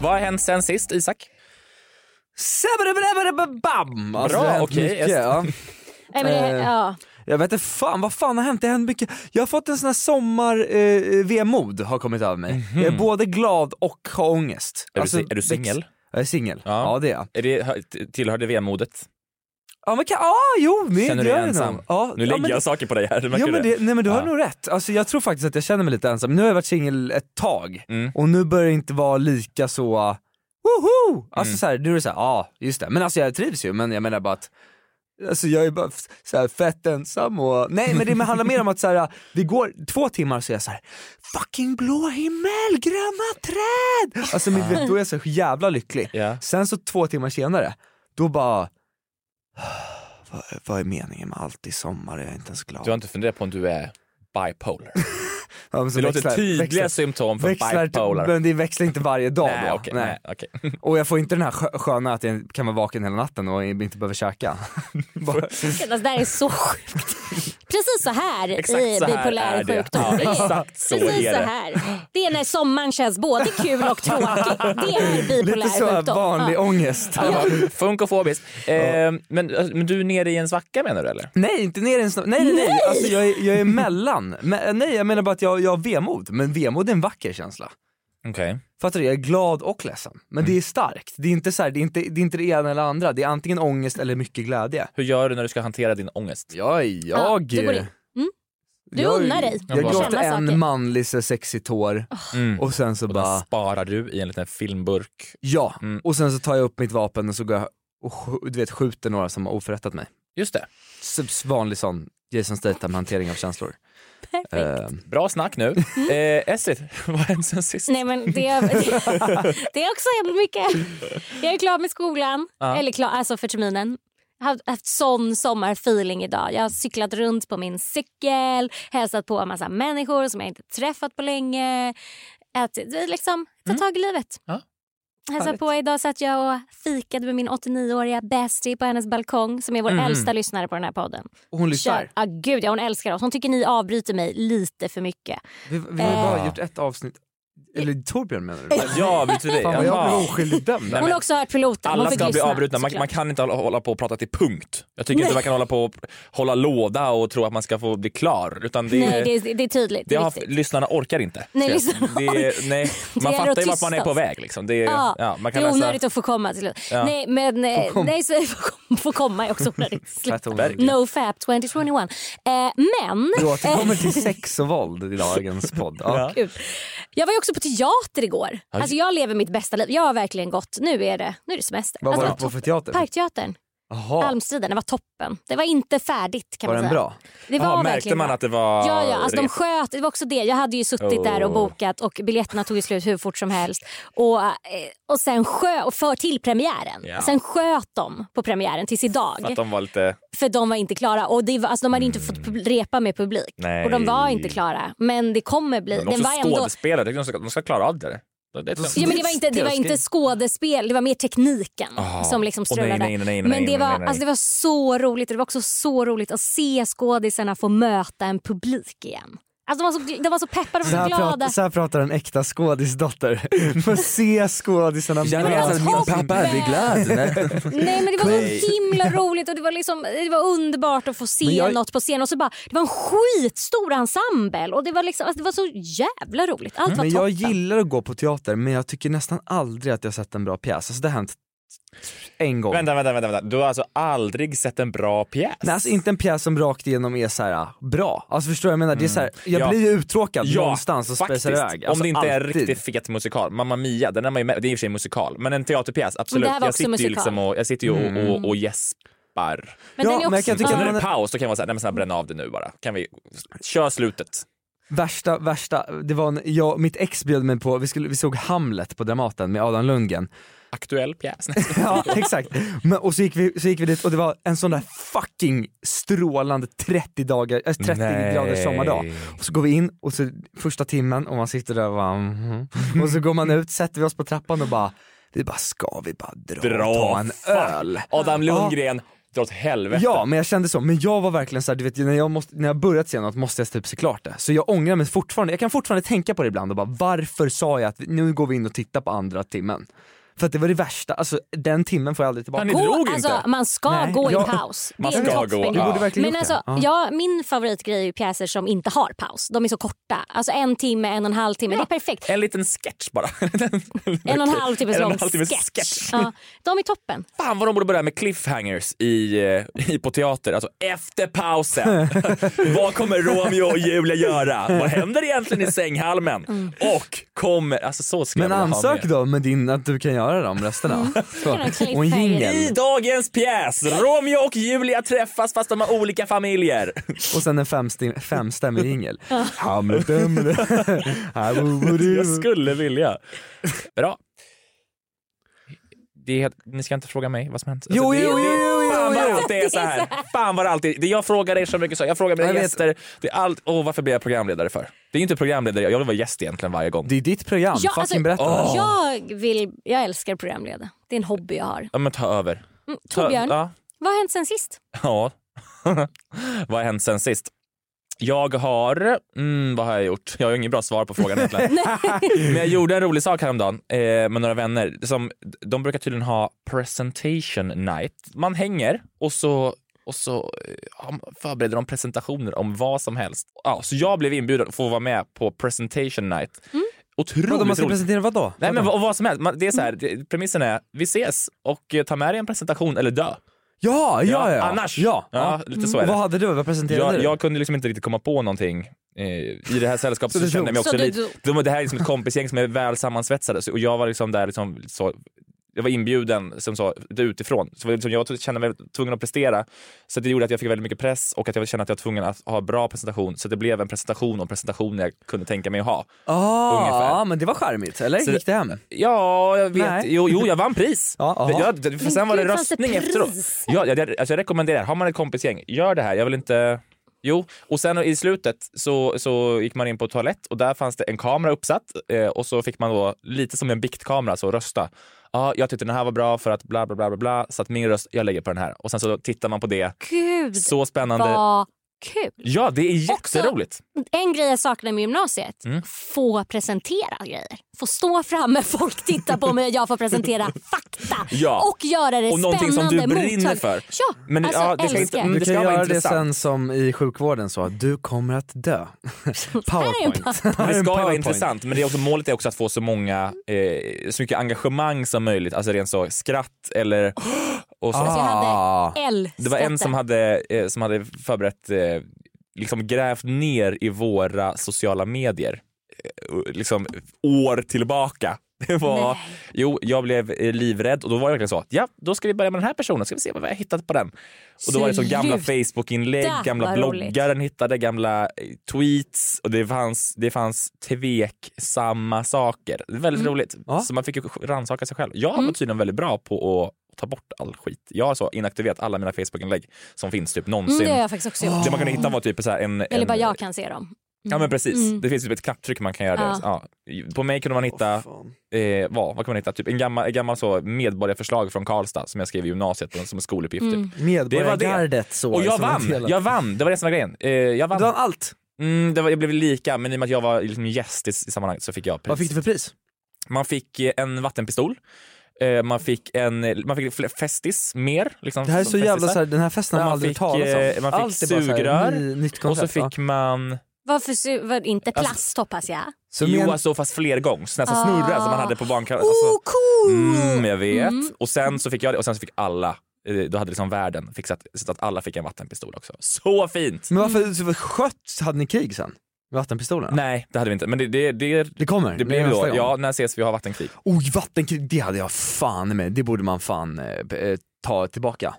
F: Vad har hänt sen sist, Isak?
H: Bam!
F: Bra,
H: Alltså, det har hänt
F: okej,
H: mycket,
F: yes.
H: ja.
D: Nej, men det,
H: Eh,
D: ja.
H: Jag vet inte fan, vad fan har hänt? Det har hänt mycket. Jag har fått en sån här sommar-vemod har kommit över mig.
F: Mhm.
H: Jag är både glad och har ångest.
F: Är du si- är du singel?
H: Jag är singel, ja. det är jag.
F: Är det, hör- t- tillhör det vemodet?
H: Ja men kan, ah, jo, nej,
F: Känner du
H: det
F: dig
H: gör jag
F: ensam?
H: nog. Ja,
F: nu
H: ja,
F: lägger
H: men-
F: jag saker på dig här, märker
H: Ja,
F: du
H: men det, nej men du har
F: Ja.
H: nog rätt. Alltså, jag tror faktiskt att jag känner mig lite ensam. Nu har jag varit singel ett tag
F: Mm.
H: och nu börjar det inte vara lika så, uh, woho! Alltså
F: Mm.
H: så här, nu är det såhär, ja ah, just det. Men alltså jag trivs ju men jag menar bara att Alltså jag är bara f- så här fett ensam och, nej men det handlar mer om att så här, det går två timmar så är jag så här, fucking blå himmel, gröna träd! Alltså men, du vet, då är jag så jävla lycklig. Sen så två timmar senare, då bara, vad, vad är meningen med allt i sommar? Jag är inte ens glad.
F: Du har inte funderat på om du är bipolar?
H: Ja, men så
F: det låter
H: växlar-
F: tydliga
H: växlar-
F: symptom för
H: växlar, typ-
F: bipolar.
H: Men det växlar inte varje dag
F: Nej,
H: då.
F: okej, nej,
H: Och jag får inte den här skö- sköna att jag kan vara vaken hela natten och inte behöver käka. Bara-
D: Gud, alltså, det här är så sjukt. Precis så här
H: Exakt
D: i
H: så här
D: bipolär
H: är det.
D: sjukdom.
H: Ja,
D: Det är
H: exakt så
D: precis
H: är
D: så
H: det.
D: här. Det är när sommaren känns både kul och tråkig. Det är bipolär
H: Lite så här
D: sjukdom.
H: vanlig
D: Ja.
H: ångest.
F: Ja. Funkofobiskt. Eh, men, men du är nere i en svacka menar du eller?
H: Nej, inte ner i en snabb... Nej, nej, nej.
F: Nej!
H: Alltså, jag, är, jag är mellan. Men, nej, jag menar bara att jag, jag har vemod. Men vemod är en vacker känsla.
F: Okej.
H: Fattar du? Jag är glad och ledsen. Men
F: Mm.
H: det är starkt. Det är, inte så här, det, är inte, det är inte det ena eller andra. Det är antingen ångest eller mycket glädje.
F: Hur gör du när du ska hantera din ångest?
H: Ja,
D: Ja,
H: jag...
D: du går in. Mm. Du
H: Jag-
D: unnar dig.
H: Jag
D: att
H: gråter
D: känna
H: en
D: saker.
H: manlig så här sexig tår
F: Mm.
H: och sen så bara...
F: sparar du i en liten filmburk.
H: Ja,
F: Mm.
H: och sen så tar jag upp mitt vapen och så går jag och sk- du vet, skjuter några som har oförrättat mig.
F: Just det.
H: S- Vanlig sån Jason Statham-hantering av känslor. Eh,
D: Alltså,
H: Perfekt.
F: Bra snack nu.
H: Mm.
F: Eh, Estrid, vad har hänt sen sist?
D: Nej men det, det är också jävligt mycket. Jag är klar med skolan,
F: Ja.
D: eller klar, alltså för terminen. Jag har haft sån sommarfeeling idag. Jag har cyklat runt på min cykel, hälsat på en massa människor som jag inte träffat på länge. Ätit, det är liksom, ta tag i livet.
F: Mm. Ja.
D: Hälsade
F: Härligt.
D: på idag satt jag och fikade med min 89-åriga bestie på hennes balkong som är vår
F: Mhm.
H: Mm.
D: äldsta lyssnare på den här podden.
H: Och hon lyssnar?
D: Kör. Ja, gud, ja, hon älskar oss. Hon tycker ni avbryter mig lite för mycket.
H: Vi, vi har ju
D: Eh.
H: bara gjort ett avsnitt, eller Torbjörn menar du?
F: Ja, avbryter dig.
H: Fan vad jag
F: Jaha.
H: blev oskyldigt dömd.
F: Nej,
D: hon
F: men-
D: har också hört piloten. hon
F: Alla
D: fick
F: ska bli
D: lyssna,
F: avbrutna, man,
D: såklart.
F: man kan inte hålla- hålla på och prata till punkt. Jag tycker inte
D: Nej.
F: man kan hålla på och hålla låda och tro att man ska få bli klar. Utan det,
D: Nej, det är, det är tydligt.
F: det har,
D: viktigt.
F: lyssnarna orkar inte.
D: Nej,
F: Så jag-
D: lyssnarna
F: det, nej, man
D: Det är
F: fattar
D: att
F: ju vart man är
D: tystas.
F: på väg. Liksom. Det, är-
D: ja,
F: ja, man
D: det är
F: kan
D: onödigt
F: läsa,
D: att få komma till slut.
F: Ja.
D: Nej, men, eh,
F: Få komma.
D: nej, så, få, kom, få komma är också onödigt. Sluta.
H: onödigt.
D: No fap 2021. Eh, men...
H: Du återkommer till sex och våld i dagens podd. Ja.
D: Gud. Jag var ju också på teater igår.
H: Aj.
D: Alltså jag lever mitt bästa liv. Jag har verkligen gått. Nu är det, nu är det semester.
H: Vad var
D: alltså,
H: du på för teater?
D: Parkteatern.
H: Jaha.
D: Almstriden. Det var toppen. Det var inte färdigt kan
H: Var
D: man
H: den
D: säga.
H: bra?
D: Det var
F: Jaha, märkte
D: verkligen
F: man
D: bra.
F: att det var
D: Ja, ja alltså de
F: rep?
D: sköt. Det var också det. Jag hade ju suttit där och
F: Oh.
D: bokat och biljetterna tog ju slut hur fort som helst. Och, eh, och sen sköt, och för till premiären.
F: Ja.
D: Sen sköt de på premiären tills idag.
F: för att de var lite...
D: För de var inte klara. Och det var, alltså, de hade inte fått pub- repa med publik.
F: Nej.
D: Och de var inte klara. Men det kommer bli.
F: Men
D: den
F: också
D: var ändå...
F: skådespelare, de ska, de ska klara av det. det, det
D: Ja, men det, var inte, det var inte skådespel, det var mer tekniken
F: Ah.
D: som liksom
F: Åh, nej,
D: strulade.
F: nej, nej, nej,
D: men
F: nej,
D: det
F: nej,
D: var,
F: nej, nej.
D: Alltså, det var så roligt och det var också så roligt att se skådisarna få möta en publik igen. Alltså, de, var så, gl- de var så peppade och
H: Så
D: så
H: här,
D: glada.
H: pratar, så här pratar en äkta skådisdotter. Får se skådisarna.
D: Jag
F: alltså,
D: vet att
H: alltså,
D: min pappa
H: är glad.
D: Nej men det var så himla roligt och det var, liksom, det var underbart att få se
H: Men jag-
D: något på scen. Och så bara, det var en skitstor ensemble och det var, liksom, alltså, det var så jävla roligt. Allt var
H: Men jag
D: toppen.
H: gillar att gå på teater men jag tycker nästan aldrig att jag sett en bra pjäs. Alltså det har hänt en gång.
F: Vänta, vänta, vänta, vänta. Du har alltså aldrig sett en bra pjäs?
H: Nej, alltså inte en pjäs som rakt igenom är så här ah, bra. Alltså förstår du vad jag menar? Det är så här, jag
F: Mm. Ja.
H: blir ju uttråkad
F: Ja,
H: någonstans och spejsar
F: faktiskt.
H: iväg. Alltså,
F: Om det inte är en
H: alltid.
F: riktigt fet musikal. Mamma Mia, den är man ju med. det är i och för sig en musikal, men en teaterpjäs, absolut.
D: Men det här var
F: jag
D: också
F: sitter ju
D: musikal.
F: liksom och, jag sitter ju och,
H: Mm.
F: och, och gäspar.
D: Men Ja, den är men jag också- kan tycka
F: Sen
H: att
F: när det
H: man-
F: är paus, då kan jag vara såhär, nej men snälla bränn av det nu bara. Kan vi, kör slutet.
H: Värsta, värsta, det var en, jag, mitt ex bjöd mig på, vi, skulle, vi såg Hamlet på Dramaten med Adam Lundgren.
F: Aktuell pjäs.
H: ja exakt. Men, och så gick, vi, så gick vi dit och det var en sån där fucking strålande 30, dagar, äh, 30
F: Nej.
H: grader sommardag. Och så går vi in och så första timmen och man sitter där och bara, mhm. Och så går man ut, sätter vi oss på trappan och bara vi bara, ska vi bara dra, och
F: Dra,
H: ta en
F: fuck.
H: öl?
F: Adam Lundgren, dra åt helvete.
H: Ja, men jag kände så. Men jag var verkligen så här, du vet när jag, måste, när jag börjat se något måste jag typ se klart det. Så jag ångrar mig fortfarande. Jag kan fortfarande tänka på det ibland och bara varför sa jag att vi- nu går vi in och tittar på andra timmen? För att det var det värsta, alltså den timmen får jag aldrig tillbaka.
D: Gå, alltså, Man ska gå i paus. Det
H: Man
D: är en
H: ska gå,
D: kroppsbyggnad.
H: ja. Du borde verkligen
D: Men
H: gjort
D: alltså,
H: det. Ja.
D: ja, min favoritgrej är ju pjäser som inte har paus. De är så korta. Alltså en timme, en och en halv timme. Det är perfekt.
F: En liten sketch bara.
D: En och en halv
F: En
D: timmes
F: och en
D: lång
F: halv timmes
D: sketch.
F: sketch.
D: Ja, de är toppen.
F: Fan vad de borde börja med cliffhangers i, eh, i på teater. Alltså efter pausen. vad kommer Romeo och Julia göra? Vad händer egentligen i sänghalmen? Och kommer... Alltså så ska
H: Mm. Men
F: jag vilja ha
H: ansök
F: med.
H: då med din, att du kan göra de resterna.
F: Mm.
H: Så. Och en
F: I
H: jingel.
F: dagens pjäs, Romeo och Julia träffas fast de har olika familjer.
H: Och sen en femstim- femstämmig jingel.
F: Ja.
H: Hamlet-dum.
F: Jag skulle vilja. Bra. Det är, helt- ni ska inte fråga mig vad som hänt. Alltså,
H: Jo,
F: det-
H: jo,
F: det-
H: jo, jo,
F: Fan vad
H: jo.
F: allt det är så här. Fan vad allt är. det- Jag frågar er så mycket så. Jag frågar mina
H: Jag vet.
F: gäster. Det är allt. Åh, varför blir jag programledare för? Det är ju inte programledare. Jag vill vara gäst egentligen varje gång.
H: Det är ditt program.
D: Ja, alltså,
F: Åh.
D: jag, vill, jag älskar programleda. Det är en hobby jag har.
F: Ja, men ta över.
D: Mm,
F: Ta-
D: Torbjörn,
F: ja.
D: vad har hänt sen sist?
F: Ja. vad har hänt sen sist? Jag har... Mm, vad har jag gjort? Jag har ju inget bra svar på frågan egentligen. men jag gjorde en rolig sak häromdagen eh, med några vänner. Som, de brukar tydligen ha presentation night. Man hänger och så, och så eh, ja, förbereder de presentationer om vad som helst. Ja, så jag blev inbjuden att få vara med på presentation night. Otroligt
H: Vadå, man ska
F: roligt.
H: presentera vad då?
F: Nej men vad, vad som helst. Man, det är så här, det, premissen är vi ses och eh, ta med dig en presentation eller dö.
H: Ja, ja, ja.
F: Annars.
H: Ja.
F: Ja, lite så är
H: Mm.
F: det.
H: Vad hade du? Vad presenterade
F: Jag,
H: du?
F: jag kunde liksom inte riktigt komma på någonting eh, i det här sällskapet.
H: Så
F: så
H: du
F: kände jag mig
H: drog.
F: också
H: Så du
F: lite, de, det här är liksom ett kompisgäng som är väl sammansvetsade så, och jag var liksom där liksom, så, jag var inbjuden som så, lite utifrån. Så var det liksom, jag t- kände mig tvungen att prestera så det gjorde att jag fick väldigt mycket press och att jag kände att jag var tvungen att ha bra presentation så det blev en presentation om presentationen jag kunde tänka mig att ha.
H: Ah,
F: Ungefär.
H: men det var charmigt, eller?
F: Så-
H: Gick det hem?
F: Ja, jag vet.
H: Nej.
F: Jo, jo, jag vann pris.
H: Ja, aha.
F: jag, det- för
H: Men
F: sen var det
H: gud, fanns det
F: röstning efteråt.
H: pris?
F: Ja, jag, jag, alltså jag rekommenderar, har man ett kompisgäng, gör det här. Jag vill inte... Jo, och sen i slutet så, så gick man in på toalett och där fanns det en kamera uppsatt eh, och så fick man då lite som en biktkamera så rösta. Ja, jag tyckte den här var bra för att bla bla bla bla bla så att min röst, jag lägger på den här. Och sen så tittar man på det.
D: Gud,
F: Så spännande.
D: vad kul.
F: Ja, det är jätteroligt.
D: En grej jag saknar med gymnasiet,
F: Mm.
D: få presentera grejer. Få stå framme, folk tittar på mig och jag får presentera fakta.
F: Ja.
D: Och göra det
F: Och någonting som du
D: spännande,
F: brinner
D: mottag-
F: för.
D: Ja,
F: Men,
D: alltså
F: ja, det
D: älskar.
F: ska inte- mm,
H: Du
F: det
H: kan
F: ska vara
H: göra det
F: intressant.
H: sen som i sjukvården så, att du kommer att dö.
F: Ah.
H: PowerPoint.
F: Det ska ju vara
H: PowerPoint.
F: intressant men det är också, målet är också att få så många eh, så mycket engagemang som möjligt. Alltså rent så skratt eller... Och så.
D: Alltså, jag hade älskat
F: det var en som hade, eh, som hade förberett, eh, liksom grävt ner i våra sociala medier eh, och liksom år tillbaka. Det var, jo, jag blev eh, livrädd och då var det verkligen så, ja då ska vi börja med den här personen, ska vi se vad vi har hittat på den. Och då var det så gamla
D: Sluta,
F: Facebook-inlägg, gamla
D: vad roligt.
F: bloggar den hittade, gamla eh, tweets och det fanns, det fanns tveksamma saker. Det är Väldigt
H: Mm.
F: roligt.
H: Ja.
F: Så man fick ju rannsaka sig själv. Jag var
H: Mm.
F: tydligen väldigt bra på att ta bort all skit. Jag har så inaktiverat alla mina Facebook-inlägg som finns typ någonsin.
D: Mm, det har jag faktiskt också gjort.
F: Det man kunde hitta var typ så här en,
D: Eller
F: en
D: bara jag kan se dem.
F: Ja men precis,
D: Mm.
F: det finns typ ett knapptryck man kan göra det. Ja.
D: Ja.
F: På mig kunde man hitta, eh, vad, vad kan man hitta? Typ en gammal, en gammal så medborgarförslag från Karlstad som jag skrev i gymnasiet som en skoluppgift.
H: Mm.
F: Typ.
H: Medborgargardet så,
F: Och jag
H: som en
F: vann,
H: del av-
F: jag vann, det var det som var grejen. Eh, jag vann.
H: Du vann allt?
F: Mm, det var, jag blev lika, men i och med att jag var liksom gäst i, i sammanhanget så fick jag pris.
H: Vad fick du för pris?
F: Man fick eh, en vattenpistol. Eh, Man fick, en, man fick fl- Festis mer. Liksom,
H: Det här är
F: som
H: så jävla
F: festisar.
H: så här, den här festen har man aldrig
F: fick,
H: talas om.
F: eh, Man
H: Allt är
F: fick
H: bara så här,
F: sugrör
H: ny- nytt
F: och så
H: koncept, va?
F: fick man
D: Varför su- var det inte plast
F: Alltså-
D: hoppas jag?
F: jo, alltså fast flergångs, nästan
D: Ah.
F: snurra som man hade på barnkalas.
D: Oh, cool!
F: Mm, jag vet.
D: Mm.
F: Och sen så fick jag det och sen så fick alla, eh, då hade liksom världen fixat så att alla fick en vattenpistol också. Så fint!
H: Men varför så skött, hade ni krig sen? Med vattenpistolerna?
F: Nej, det hade vi inte. Men det, det, det,
H: det kommer.
F: Det blir
H: nästa
F: då,
H: gång.
F: ja, när ses vi har vattenkrig.
H: Oj, vattenkrig, det hade jag fan med. Det borde man fan eh, b- eh, ta tillbaka.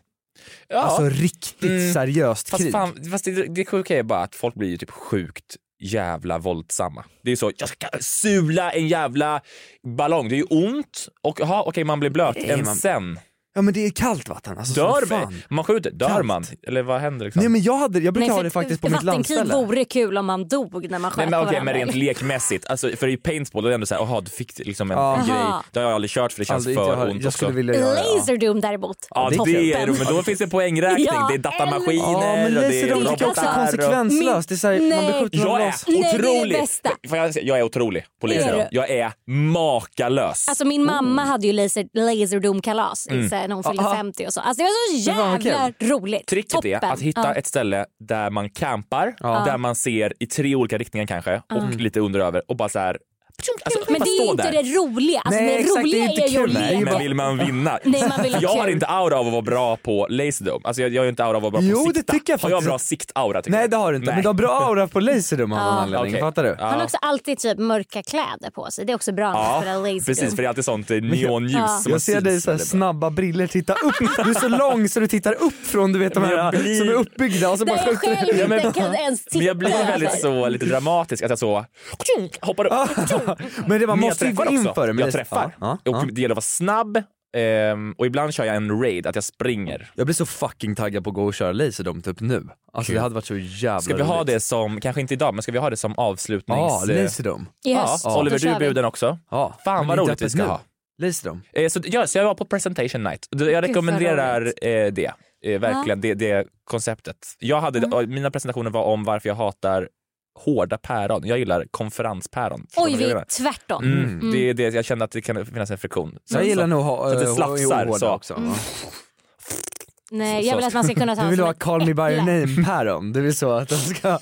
F: Ja.
H: Alltså riktigt
F: Mm.
H: seriöst
F: Fast,
H: krig.
F: fan, fast det, det sjuka är bara att folk blir ju typ sjukt jävla våldsamma. Det är så, jag ska sula en jävla ballong. Det är ju ont och aha, okej man blir blöt.
H: Nej,
F: en
H: man-
F: sen.
H: Ja men det är kallt vatten. Alltså,
F: dör
H: som
F: man?
H: fan.
F: man skjuter, dör
H: Kallt.
F: man? Eller vad händer? Liksom?
H: Nej men jag, hade, jag brukar
D: Nej,
H: ha
D: för
H: det faktiskt på mitt
D: vattenkrig
H: landställe.
D: vore kul om man dog när man
F: Nej,
D: sköt
F: men,
D: på
F: okej,
D: varandra.
F: men rent lekmässigt, alltså, för i paintball är det ändå såhär, jaha du fick liksom en
H: Ja.
F: en grej.
D: Aha.
F: Det har jag aldrig kört för det känns
H: Aldrig, inte
F: för
H: jag har-
F: ont.
H: jag
F: och så-
H: skulle vilja göra det, ja.
D: Laserdoom däremot.
F: Ja, det, det är
D: toppen.
F: det, men då finns det poängräkning.
D: Ja,
F: det är datamaskiner
H: Ja men
F: och
H: laser
F: det är
H: de tycker också
F: robotar. och-
H: konsekvenslöst. Det är så här, man blir
D: Nej.
H: skjuten av
F: Jag är
H: las.
D: Nej, det är det
F: otrolig!
D: bästa.
F: Får jag säga, jag är otrolig på
D: Är
F: laser.
D: du?
F: Jag är makalös.
D: Alltså
H: Oh.
D: min mamma hade ju laser, laserdomkalas
F: Mm.
D: mm. när hon fyllde
H: Ah,
F: Aha.
D: 50 och så. Alltså det var så
F: Det var kul.
D: jävla roligt.
F: Tricket
D: Toppen.
F: är att hitta
D: Ja.
F: ett ställe där man campar,
D: Ja.
F: där man ser i tre olika riktningar kanske och
D: Mm.
F: lite under och över och bara så här. Alltså,
D: Men
F: bara
D: det är
F: stå
D: ju
F: där.
D: inte det roliga. Alltså,
H: Nej,
D: det
H: exakt, det är
D: roliga
H: inte
D: är ju
H: kul.
D: att
H: Nej,
D: leva.
F: Men vill man vinna?
D: Nej, man vill ha
F: jag har
D: kul.
F: inte aura av att vara bra på laserdome. Alltså jag, jag är ju inte aura av att vara bra på
H: Jo,
F: att
H: det
F: sikta.
H: tycker jag
F: har jag
H: faktiskt.
F: bra siktaura? tycker
H: Nej
F: du?
H: det har du inte,
F: Nej.
H: men du har bra aura på laserdum av någon
D: Ja.
H: anledning.
F: Okej.
H: Fattar du?
F: Ja.
D: Han har också alltid typ mörka kläder på sig. Det är också bra när man
F: Ja,
D: spelar laserdoom.
F: precis för det är alltid sånt eh, neonljus
D: Ja.
F: som man
H: Jag ser dig
F: syns
H: så här
F: väldigt bra.
H: snabba briller, titta upp. Du är så lång så du tittar upp från du vet de
F: Men jag
H: här
F: blir-
H: som är uppbyggda och så
D: Där
H: bara
D: jag
H: skjuter
D: själv
F: Ja, men-
D: inte kan ens titta.
F: Men jag blir väldigt
D: över.
F: så lite dramatisk att jag så hoppar upp.
H: Men Ah, det var,
F: Men
H: måste ju
F: jag
H: gå
F: träffar
H: in
F: också.
H: för det. men
F: jag
H: det-
F: träffar.
H: Ja,
F: Och
H: ja.
F: det gäller att vara snabb ehm, och ibland kör jag en raid, att jag springer.
H: Jag blir så fucking taggad på att gå och köra laserdom typ nu. Alltså
F: Kul.
H: det hade varit så jävla
F: Ska vi ha
H: roligt.
F: det som, kanske inte idag, men ska vi ha det som avslutnings...
H: Ja,
F: eh,
H: laserdom.
D: I
F: ja.
D: höst, då
F: Oliver, du
D: kör
F: är
D: vi.
F: bjuden också.
H: Ja.
F: Fan
H: men
F: vad
H: det är
F: roligt
H: inte
F: vi ska
H: öppet nu.
F: ha.
H: Laserdom.
F: Eh, så, ja, så jag var på presentation night. Jag rekommenderar eh, det, eh, verkligen, det, det konceptet. Jag hade,
D: Mm.
F: eh, Mina presentationer var om varför jag hatar hårda päron. Jag gillar konferenspäron. Förstår
D: Oj,
F: ni vad jag
D: vi är
F: menar?
D: tvärtom.
F: Mm.
H: Mm.
F: Det är det, jag kände att det kan finnas en friktion.
H: Jag gillar nog
F: så att det
H: eh,
F: slafsar,
H: hårda
F: så. Mm.
H: också. va?
D: Nej,
F: Så-
D: jag vill
F: så-
D: att man ska kunna ta
H: Du vill
D: som
H: ha
D: ett
H: Call Me By Your
D: äpple.
H: Name-päron. Det vill så att den ska...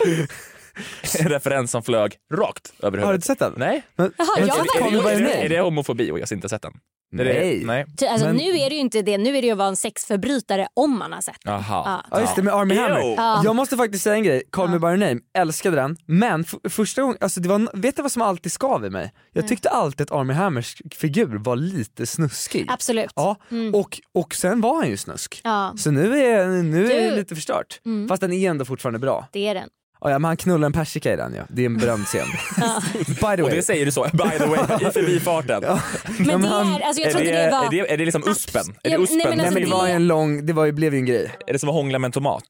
F: en referens som flög rakt över
H: Har du
F: huvudet.
H: inte sett den?
F: Nej.
H: Men-
D: Jaha,
H: Men-
D: jag
F: är,
D: har
F: det- är,
H: Call Me
F: det-
H: By
F: är,
H: Your
F: det- är
H: Name.
F: det homofobi och jag har inte sett den? Är det-
H: Nej.
F: nej.
D: Ty- Alltså,
H: Men-
D: Nu är det ju inte det. Nu är det ju att vara en sexförbrytare om man har sett det.
F: Jaha.
H: Ja just det med Army
F: Ew.
H: Hammer.
D: Ja.
H: Jag måste faktiskt säga en grej, Call Me By Your Name, älskade den, men f- första gången, alltså det var, vet du vad som alltid skav i mig? Jag tyckte alltid att Army Hammers figur var lite snuskig.
D: Absolut.
H: Ja, och, och sen var han ju snusk.
D: Mm. Ja.
H: Så nu är, nu är det
D: Du- Mm.
H: lite förstört. Fast den är ändå fortfarande bra.
D: Det är den.
H: Ja, ja, men han knullar en persika i den ju, det är en berömd scen. By the
F: Och
H: way.
F: det säger du så, by the way, i förbifarten.
D: Men
H: men
D: det
H: han-
D: är, alltså jag
F: Är
D: tror
F: det,
D: inte det var...
F: är, det, är det liksom uspen? Är det
D: Ja, nej,
F: uspen?
D: men alltså
H: Nej men det var ju en lång, det var ju, blev ju en grej.
F: Är det som att hångla med en tomat?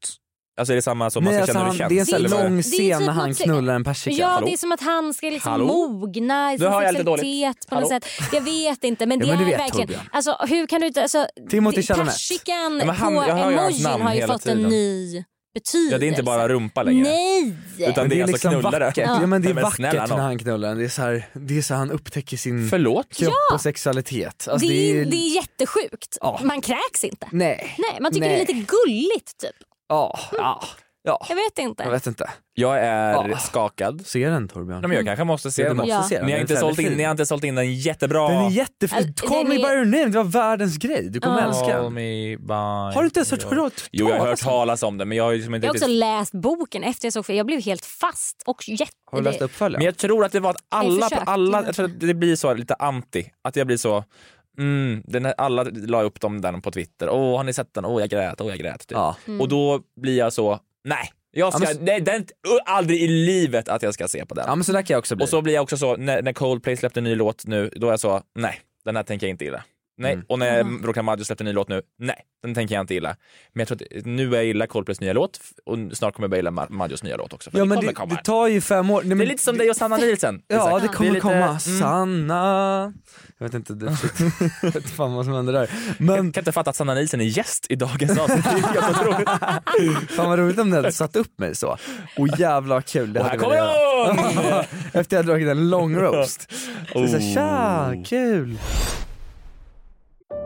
F: Alltså är det samma som man ska
H: Nej, alltså
F: känna hur
H: han,
F: det
H: det
F: känns?
H: är en sån
D: Det är
H: här
D: typ-
H: lång
D: det är
H: scen
D: typ
H: när han
D: något-
H: knullar en persika.
D: Ja,
F: Hallå?
D: det är som att han ska liksom
F: Hallå?
D: mogna i
F: Nu
D: sin
F: hör jag lite
D: sexualitet på något
F: Hallå?
D: sätt. Jag vet inte, men
H: Ja,
D: det
H: men du
D: är
H: vet,
D: verkligen...
H: Torbjörn.
D: Alltså, hur kan du inte... Alltså,
H: Timothy
D: det-
H: Chalamet.
D: Persikan
F: Ja, men han-
D: på
F: jag hör ju hans
D: emojin
F: namn
D: har ju
F: hela
D: fått en
F: tiden.
D: ny betydelse.
F: Ja, det är inte bara rumpa längre. Utan
D: Nej!
H: Men liksom
F: det är, alltså
D: liksom
F: knullare.
H: vackert. Ja. men det
F: Nej,
H: är
F: men
H: vackert
F: snälla nån.
H: när han knullar den. Det är så här, det är så här han upptäcker sin
F: Förlåt?
H: kropp och sexualitet. Alltså,
D: det, är, det
H: ju-
D: är jättesjukt.
H: Ja.
D: Man kräks inte.
H: Nej.
D: Nej, man tycker
H: Nej.
D: det är lite gulligt typ.
H: Ja. ja. Ja.
D: Jag vet inte.
H: Jag vet inte.
F: Jag är
H: Ja.
F: skakad.
H: Se den Torbjörn.
F: Nej, men jag kanske måste se
H: Ja, du
F: den.
H: måste
D: Ja.
H: se den.
F: Ni har,
H: Den
F: inte
H: är
F: sålt
H: väldigt
F: in,
H: fin.
F: ni har inte sålt in den jättebra.
H: Den är jättefin.
D: Alltså,
H: Call
D: den
H: me
D: är-
H: by your name, det var världens grej. Du kommer älska
F: Call
H: den.
F: me by...
H: Har du inte ens hört Alltså. talas
F: Jo, jag har hört talas om den men jag har ju liksom inte
D: Jag har också
F: riktigt...
D: läst boken efter jag såg filmen. Jag blev helt fast och jätte...
H: Har du läst
F: Men
H: uppföljaren?
F: jag tror att det var att
D: Nej,
F: alla,
D: försök.
F: alla jag tror att det blir så lite anti, att jag blir så Mm, den här, alla la upp dem där på Twitter. Åh, har ni sett den? Åh, jag grät. Åh, jag grät. Typ.
H: Ja.
F: Och då blir jag så, nej, jag ska,
H: Ja, men-
F: nej, den, aldrig i livet att jag ska se på den.
H: Ja men så där kan jag också bli.
F: Och så blir jag också så, när, när Coldplay släppte en ny låt nu, då är jag så, nej, den här tänker jag inte gilla. Nej.
H: Mm.
F: Och när Rokan Maggio släppte en ny låt nu, nej, den tänker jag inte gilla. Men jag tror att nu är jag gilla Coldplays nya låt f- och snart kommer jag börja gilla Ma- Maggios nya låt också. För
H: ja
F: det,
H: men
F: kommer
H: det,
F: komma.
H: det tar ju fem år. Nej,
F: det är
H: men-
F: lite som dig och Sanna Nielsen.
H: Ja
F: Exakt.
H: det
F: är
H: kommer
F: lite-
H: komma.
F: mm.
H: Sanna. Jag vet inte, det, shit. jag vet inte fan vad som händer där. Men
F: Jag kan inte fatta att Sanna Nielsen är gäst i dagens avsnitt. Det är helt otroligt.
H: Fan vad roligt om ni hade satt upp mig så. Och jävla vad kul det
F: Och här
H: hade
F: kommer
H: varit.
F: hon!
H: Efter jag hade dragit en lång roast. Så jag sa,
F: Oh.
H: tja, kul.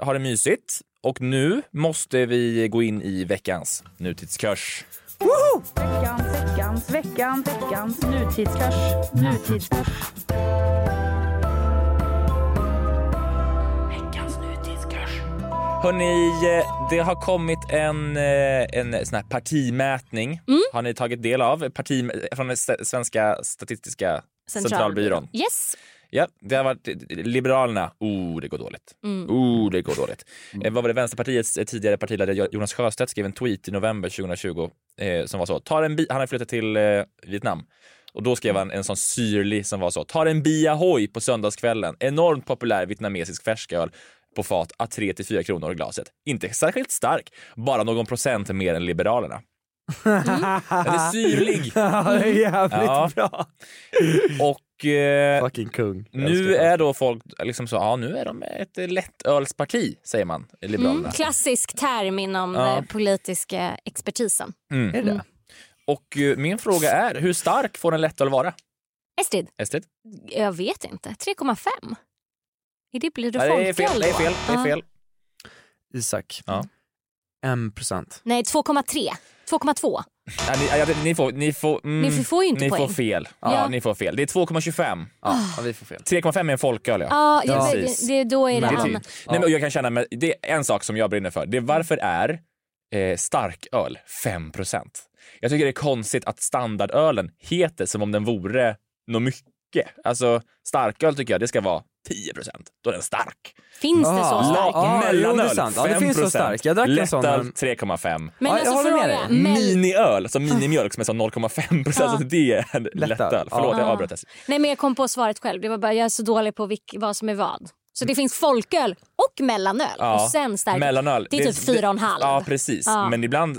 F: eh, har det mysigt och nu måste vi gå in i veckans nutidskurs.
G: Woho! Veckans, veckans, veckans, veckans nutidskurs. Nutidskurs. Veckans nutidskurs.
F: Hörni, eh, det har kommit en, eh, en sån här partimätning. Har ni tagit del av? Parti, från den s- svenska statistiska centralbyrån.
D: Yes.
F: Ja, det har varit Liberalerna. Oh, det går dåligt.
D: Mm.
F: Oh, det går dåligt. Eh, vad var det? Vänsterpartiets eh, tidigare partiledare Jonas Sjöstedt skrev en tweet i november 2020 eh, som var så. Tar en bi- han har flyttat till eh, Vietnam. Och då skrev han en sån syrlig som var så. Tar en bia hoj på söndagskvällen. Enormt populär vietnamesisk färsköl på fat à 3 till 4 kronor i glaset. Inte särskilt stark, bara någon procent mer än Liberalerna. Den är syrlig.
H: Ja, det är jävligt
F: bra. Och eh,
H: Fucking kung.
F: nu är då folk liksom så, ja nu är de ett eh, lättölsparti säger man, i Liberalerna.
D: Mm, klassisk term inom
F: Ja.
D: eh, politiska expertisen.
F: Mm. Och eh, min fråga är, hur stark får en lättöl vara?
D: Estrid,
F: Estrid?
D: jag vet inte. 3,5? Är det blir du
F: Nej, det är
D: folköl
F: fel, det är
D: då?
F: fel, det är
D: Ja.
F: fel.
H: Isak.
F: Ja.
H: En procent.
D: Nej, 2,3. 2,2.
F: Ja, ni, ja, det- ni, får, ni, får, mm,
D: Ni får ju inte
F: ni
D: poäng.
F: får fel. Ja,
D: Ja.
F: Ni får fel. Det är 2,25.
D: Ah.
H: Ja, vi får fel.
F: 3,5 är en folköl ja.
D: Ja, jag vet,
F: Precis.
D: det, det, då är det
F: Det är
D: an...
F: typ. Nej, men jag kan känna, men det är en sak som jag brinner för. Det är varför är eh, starköl 5 Jag tycker det är konstigt att standardölen heter som om den vore något mycket. Alltså starköl tycker jag det ska vara 10 Då är den stark.
D: Finns det
H: Ah.
D: så stark?
H: Ja, jo, det är
F: Mellanöl 5
H: sant. Ja, det finns så stark. Jag drack en sån
F: Lättöl
H: när-
F: 3,5.
D: Men Ja, alltså, jag håller med fråga, dig. men-
F: Miniöl, som minimjölk som är som 0,5 procent.
D: Ja.
F: Så det är en lättöl. Förlåt, jag
D: Ja.
F: avbröt. Estrid.
D: Nej, men jag kom på svaret själv. Det var bara, jag är så dålig på vilk, vad som är vad. Så det finns folköl och mellanöl.
F: Ja,
D: Och sen stark.
F: Mellanöl.
D: Det är typ fyra och en halv.
F: Ja, precis.
D: Ja.
F: Men ibland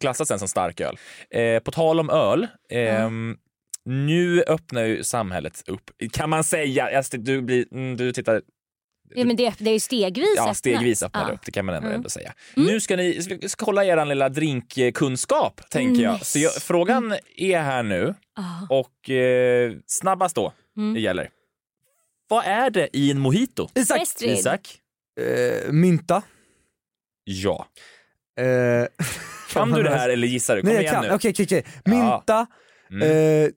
F: klassas den som starköl. Eh, på tal om öl. ehm, Nu öppnar ju samhället upp. Kan man säga, Astrid, du, blir, mm, du tittar
D: Ja, men det, det är ju stegvis.
F: ja,
D: öppnat.
F: stegvis öppnar det
D: Ja.
F: upp, det kan man ändå,
D: Mm.
F: ändå säga. Nu ska ni ska- ska kolla er lilla drinkkunskap, tänker
D: Mm.
F: jag. Så jag, frågan är här nu och eh, snabbast då
D: Mm.
F: det gäller. Vad är det i en mojito?
H: Isak.
D: Estrid.
F: Isak?
H: Eh, mynta.
F: Ja.
H: Eh,
F: Kan du det här eller gissar du? Kom
H: Nej jag
F: igen
H: kan,
F: nu.
H: okej okej okej. Mynta, eh,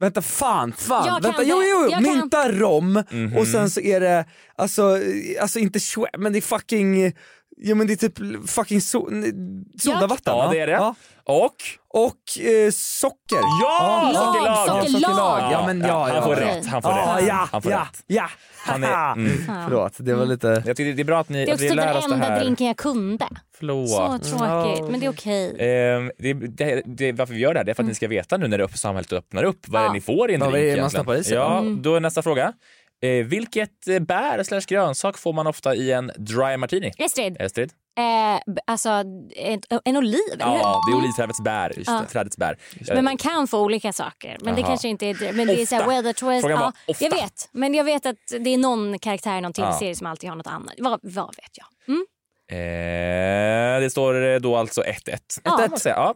H: vänta fan, fan,
F: Jag kan
H: vänta,
F: det.
H: jo jo, jo.
F: Jag kan.
H: mynta, rom
F: Mm-hmm.
H: och sen så är det, alltså, eh, alltså inte schwe, men det är fucking, ja men det är typ fucking so, n- sodavatten.
F: Ja,
H: va?
F: det är det.
H: Ja.
F: Och?
H: Och eh, socker.
F: Ja,
H: Ja,
F: sockerlag!
H: ja, sockerlag. Ja, men, ja,
F: han får
H: ja.
F: rätt. Han får
H: Ja,
F: rätt.
H: Ja,
F: han får
H: ja,
F: rätt.
H: ja.
F: Han är, mm.
D: Ja.
H: Förlåt, det var lite...
F: Jag tycker det är bra att ni,
D: Det är
F: att vi
D: också
F: lär oss det
D: den enda
F: här.
D: drinken jag kunde.
F: Förlåt.
D: Så tråkigt, men det är okej.
F: Ehm, det, det, det, varför vi gör det här det är
D: Mm.
F: för att ni ska veta nu när det upp, samhället öppnar upp vad är det ni får i en
H: Ja,
F: drink.
H: vad är det man
F: egentligen.
H: stoppar i sig?
F: Ja,
H: Mm.
F: Då är nästa fråga. Eh, vilket eh, bär slash grönsak får man ofta i en dry martini?
D: Estrid.
F: Estrid?
D: Eh, b- alltså, en, en oliv, eller
F: Ja, det är
D: hur?
F: olivträdets bär.
D: Mm. Ja.
F: Trädets bär.
D: Men man kan få olika saker. Men det
F: Jaha.
D: kanske inte är det. Men det är så här
F: Ofta.
D: weather twist.
F: Frågan var
D: Ja,
F: ofta.
D: jag vet. Men jag vet att det är någon karaktär i någon
F: Ja.
D: tv-serie som alltid har något annat. Vad, vad vet jag? Mm.
F: Eh, det står eh, då alltså 1-1.
D: Ja.
F: Kan man säga, Ja.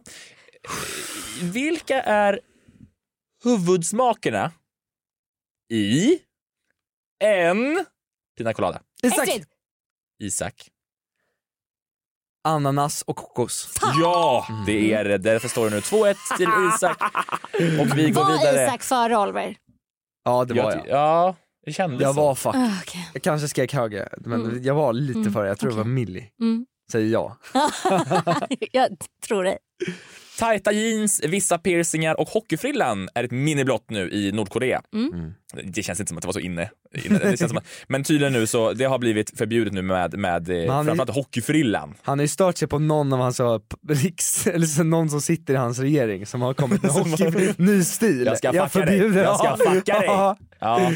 F: Vilka är huvudsmakerna i en pina colada?
H: Isak.
D: Estrid.
F: Isak.
H: Ananas och kokos.
F: Ja, det är det. Därför står det nu 2-1 till Isak. Och vi går
D: Var
F: vidare.
D: Isak före Oliver?
H: Ja det var
F: Jag
H: jag.
F: ty- Ja, det kändes
H: Jag
F: så.
H: var fuck.
D: Ah, okej.
H: Jag kanske skrek högre, men
D: Mm.
H: jag var lite
D: Mm,
H: före. Jag tror det var Millie.
D: Mm.
H: Säger jag.
D: jag tror dig.
F: Tajta jeans, vissa piercingar och hockeyfrillan är ett minne blott nu i Nordkorea.
D: Mm.
F: Det känns inte som att det var så inne. inne. Det känns som att, men tydligen nu så, det har blivit förbjudet nu med, med eh,
H: han är-
F: framförallt hockeyfrillan.
H: Han har ju stört sig på någon av hans så, p- riks, eller så, någon som sitter i hans regering som har kommit med hockey, ny stil.
F: Jag ska fucka dig.
H: förbjuder-
F: Jag ska fucka dig.
H: Ja.
F: Ja.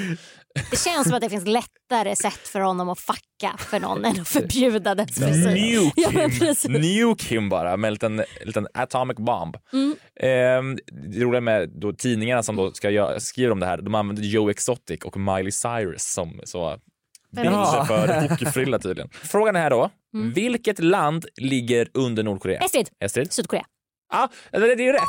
D: Det känns som att det finns lättare sätt för honom att fucka för någon än att förbjuda dess frisyr. Ja, men
F: Nuke
D: precis.
F: him, Nuke him bara med en liten, liten atomic bomb.
D: Mm.
F: Ehm, det roliga med då tidningarna som då ska göra, skriver om det här, de använder Joe Exotic och Miley Cyrus som så
D: Vem
F: Binge
D: vet?
F: för hockeyfrilla tydligen. Frågan är här då.
D: Mm.
F: Vilket land ligger under Nordkorea?
D: Estrid.
F: Estrid?
D: Sydkorea.
F: Ja, ah, det det är ju rätt.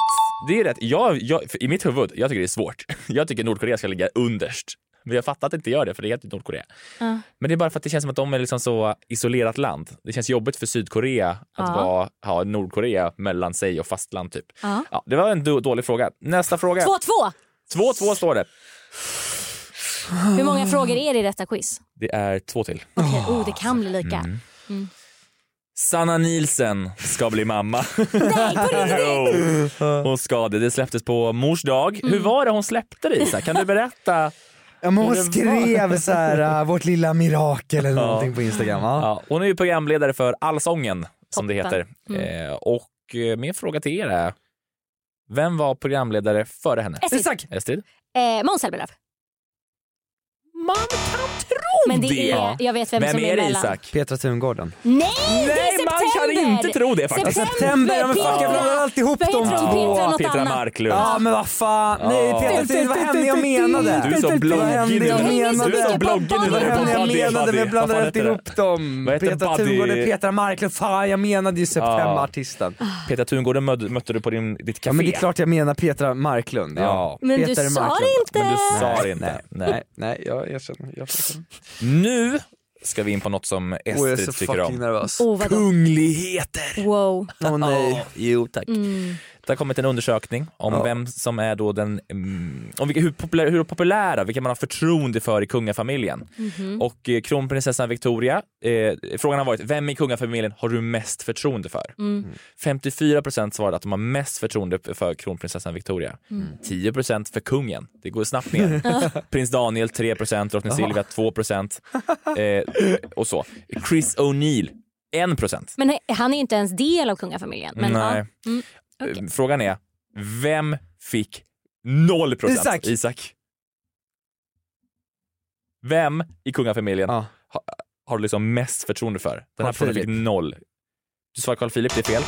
F: Det är rätt. Jag, jag, för I mitt huvud, jag tycker det är svårt. Jag tycker Nordkorea ska ligga underst. Men jag fattar att inte gör det, för det heter ju Nordkorea.
D: Ja.
F: Men det är bara för att det känns som att de är liksom så isolerat land. Det känns jobbigt för Sydkorea att
D: Ja.
F: vara, ha Nordkorea mellan sig och fastland typ.
D: Ja.
F: Ja, det var en do- dålig fråga. Nästa fråga.
D: 2-2!
F: 2-2 står det.
D: Hur
F: Ah.
D: många frågor är det i detta quiz?
F: Det är två till.
D: Okej, oh, det kan bli lika.
F: Ah. Mm.
D: Mm.
F: Sanna Nielsen ska bli mamma.
D: Nej, på
F: Jo. Hon ska det. Det släpptes på mors dag.
D: Mm.
F: Hur var det hon släppte det Isak? Kan du berätta?
H: Ja, men hon
F: hur det
H: skrev
F: var?
H: så här, äh, vårt lilla mirakel eller
F: Ja.
H: någonting på Instagram. Ja.
F: Ja, hon är ju programledare för Allsången som det
H: Toppen.
F: heter. Eh, och eh, min fråga till er är, vem var programledare före henne?
D: Estrid.
F: Isak. Estrid.
D: Eh, Måns Zelmerlöw. Man kan tro Men det är, jag vet vem, som är,
F: det,
D: mellan.
F: Isak?
H: Petra Tungården.
D: Nej, det
F: Nej,
D: är september!
F: man kan inte tro det faktiskt.
D: September,
H: September, ja, men
D: Petra,
H: fuck, jag blandar alltid ihop
D: Petra,
H: de
D: Petra,
H: två.
D: Petra, något
F: Petra
D: annat.
F: Marklund.
H: Ja men vad fan, nej
F: Ja.
H: Petra Tungården, vad hände jag menade?
F: Du är så bloggig
H: Vad hände jag
F: nu.
H: menade?
F: Du är så bloggig nu.
H: Vad hände jag
F: Buddy,
H: menade?
F: buddy.
H: Vi
F: Vad
H: blandade
F: fan
H: alltid
F: heter
H: ihop dem.
F: Vad heter
H: Petra
F: buddy?
H: Tungården, Petra Marklund, fan jag menade ju septemberartisten.
F: Petra Tungården möd- mötte du på din, ditt café.
H: Ja men det är klart jag menar Petra Marklund. Ja.
F: Men du
H: Peter
F: sa
H: Marklund.
F: det inte. Men du sa
H: Nej,
F: det inte.
H: Nej,
F: Nej.
H: nej, nej jag erkänner. Jag erkänner.
F: Nu ska vi in på något som Estrid
H: jag är så
F: tycker om.
H: fucking nervös.
D: Oh, vadå?
F: Kungligheter!
D: Wow.
F: Åh nej. Jo tack.
D: Mm.
F: Det har kommit en undersökning om vem som är då den, mm, om vilka, hur, populära, hur populära, vilka man har förtroende för i kungafamiljen.
G: Mhm.
F: Och eh, kronprinsessan Victoria, eh, frågan har varit vem i kungafamiljen har du mest förtroende för?
G: Mm.
F: 54 procent svarade att de har mest förtroende för kronprinsessan Victoria.
G: Mm.
F: 10 procent för kungen, det går snabbt ner. Prins Daniel 3 procent, drottning
G: Jaha.
F: Silvia 2 procent eh, och så. Chris O'Neill 1 procent.
D: Men he- han är ju inte ens del av kungafamiljen. Men,
F: Nej.
D: Ja. Mm.
F: Eh, Frågan är, vem fick 0 procent?
D: Isak.
F: Vem i kungafamiljen ha, har du liksom mest förtroende för? Den här
H: Carl
F: personen fick
H: Philip.
F: noll. Du svarar Carl Philip, det är fel.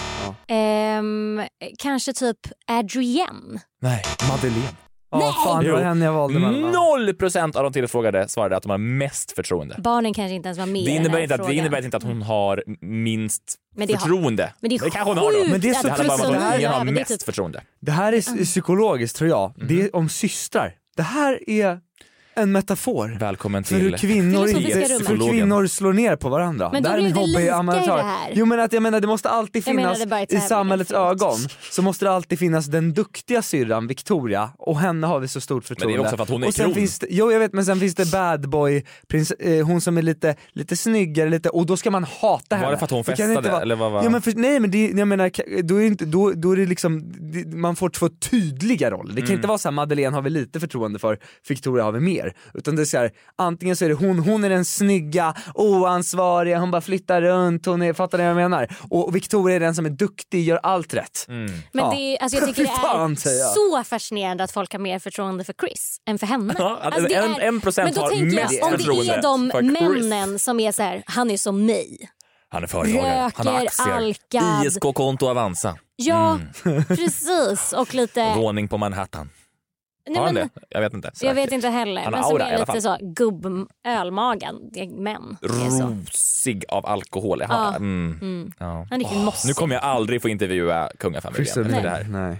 D: Ehm, kanske typ Adrienne.
F: Nej, Madeleine.
D: Nej!
H: fan, det var henne jag valde mellan.
F: Noll procent av de tillfrågade svarade att de har mest förtroende.
D: Barnen kanske inte ens var med
F: Det
D: i den
F: innebär,
D: här
F: inte att, det
D: frågan.
F: innebär inte att hon har minst
D: Men det har-
F: förtroende.
D: men det är
F: kanske hon har
D: sjukt
F: då.
D: Men det är så
F: det handlar bara om att
D: fruktansvärt.
F: ingen har
D: Ja, men det är
F: mest
D: typ-
F: förtroende.
H: Det här är
D: Mm.
H: s- psykologiskt tror jag. Det är om systrar. Det här är en metafor.
F: Välkommen
H: för hur
F: till
H: kvinnor,
F: Filosofiska
H: inte,
F: rummet.
H: för hur kvinnor slår ner på varandra.
D: Men då
H: här är
D: blir
H: min
D: det
H: hobby,
D: lika
H: ja, men
D: i det
H: tar-
D: här.
H: Jo men att jag menar det måste alltid
D: Jag menar,
H: finnas
F: alltså,
D: det bara är
H: i
D: tävling.
H: samhällets ögon så måste det alltid finnas den duktiga syrran Victoria och henne har vi så stort
F: det är
H: förtroende.
F: också för att hon är
H: och sen
F: kron.
H: finns det, Jo jag vet men sen finns det bad boy, prins, eh, hon som är lite, lite snyggare lite och då ska man hata henne.
F: Var det för att hon
H: kan
F: festade,
H: inte vara-
F: eller vad var-
H: Ja, men för, nej men det, jag menar, ka- då är, det inte, då, då är det liksom, det, man får två tydliga roller. Det kan
F: Mm.
H: inte vara så här, Madeleine har vi lite förtroende för, Victoria har vi mer. Utan det är så här, antingen så är det hon, hon är den snygga, oansvariga, hon bara flyttar runt, hon är, fattar ni vad jag menar? Och Victoria är den som är duktig, gör allt rätt.
D: Men
H: Ja.
D: det är, alltså jag tycker
H: Fy
D: det
H: fan,
D: är
H: säger jag.
D: så fascinerande att folk har mer förtroende för Chris än för henne.
F: Ja, att
D: alltså det
F: en- en procent
D: men då
F: har
D: tänker
F: mest
D: jag, om det
F: förtroende
D: är de
F: för Chris.
D: männen som är så här, han är som mig.
F: Han är företagare, han har
D: Röker,
F: aktier,
D: alkad.
F: ISK-konto Avanza,
D: Ja,
F: Mm.
D: precis. Och lite...
F: våning på Manhattan.
D: Eh. Nej,
F: har han
D: men-
F: det? Jag vet inte.
D: Jag
F: Säkert.
D: vet inte heller.
F: Han har
D: men som
F: aura i
D: är
F: alla
D: lite så
F: fall.
D: gubb-ölmagen. Det är Män. Det är så.
F: Rosig av alkohol. Jaha.
D: Ja.
F: Mm.
D: Mm.
F: Ja.
D: Han är riktigt mossig.
F: Nu kommer jag aldrig få intervjua kungafamiljen.
H: Chris
F: efter
H: O'Neill,
F: det här.
H: nej.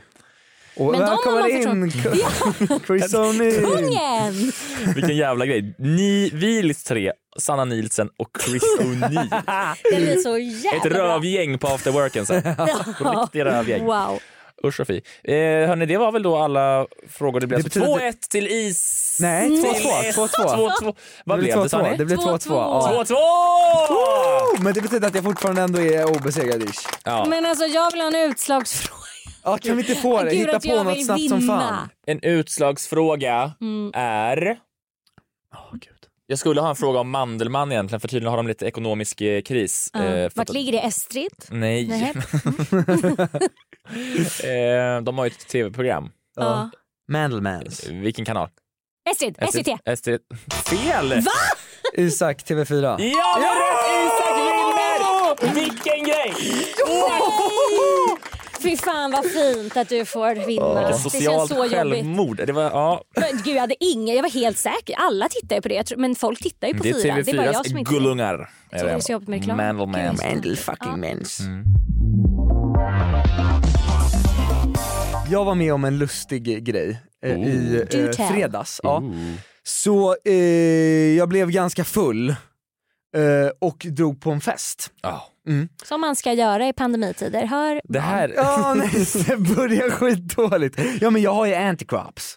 H: Och
D: Men de har man
H: välkommen in
D: förtroende-
H: Chris O'Neill!
D: Kungen!
F: Vilken jävla grej. Ni, Vils tre, Sanna Nielsen och Chris O'Neill.
D: Det blir så
F: Ett
D: jävla bra.
F: rövgäng på afterworken sen.
D: Ja.
F: Riktiga rövgäng.
D: Wow.
F: Usch och fy. Eh, hörni, det var väl då alla frågor. Det blev
H: Det
F: alltså
H: betyder-
F: 2-1 till is.
H: Nej, 2-2,
F: Till
H: 2-2.
F: 2-2. Vad
H: Det
F: blev det sa ni?
H: Det blev 2-2.
F: 2-2.
H: Ja.
F: 2-2!
H: Oh, Men det betyder att jag fortfarande ändå är obesegrad ish.
F: Ja.
D: Men alltså jag vill ha en utslagsfråga.
H: Ja, kan vi inte få det?
D: Gud,
H: Hitta
D: att jag
H: på något
D: vill
H: snabbt som
D: vinna.
H: fan.
F: En utslagsfråga
D: Mm.
F: är... Jag skulle ha en fråga om Mandelmann egentligen för tydligen har de lite ekonomisk eh, kris.
D: Ja.
F: Eh, för
D: Vart
F: att-
D: ligger det? Estrid?
F: Nej.
D: Nej.
F: eh, de har ju ett tv-program.
D: Ja.
H: Mandelmans.
F: Vilken kanal?
D: Estrid, SVT.
F: SVT. Fel!
D: Va?
H: Isak, TV4.
F: Ja, det är rätt! Isak vinner! Vilken grej!
D: Nej! Fy fan vad fint att du får vinna. det känns
F: Socialt
D: så jobbigt.
F: självmord. Det var, ja.
D: Men gud, jag hade ingen, jag var helt säker. Alla tittar ju på det, Jag tror- men folk tittar ju på
F: Det är
D: fyran. Det är bara jag som
F: TV4s
D: inte
F: gullungar.
D: Så det är så jobbigt med reklam.
F: Mandelman.
D: Mandel
I: fucking mens.
H: Jag var med om en lustig grej eh, i
I: Do
H: eh,
I: tell.
H: fredags. Ja. Så eh, jag blev ganska full eh, och drog på en fest. Mm.
D: Som man ska göra i pandemitider. Hör
H: Det här... Ja, nej, det börjar skitdåligt. Ja men jag har ju anticrops.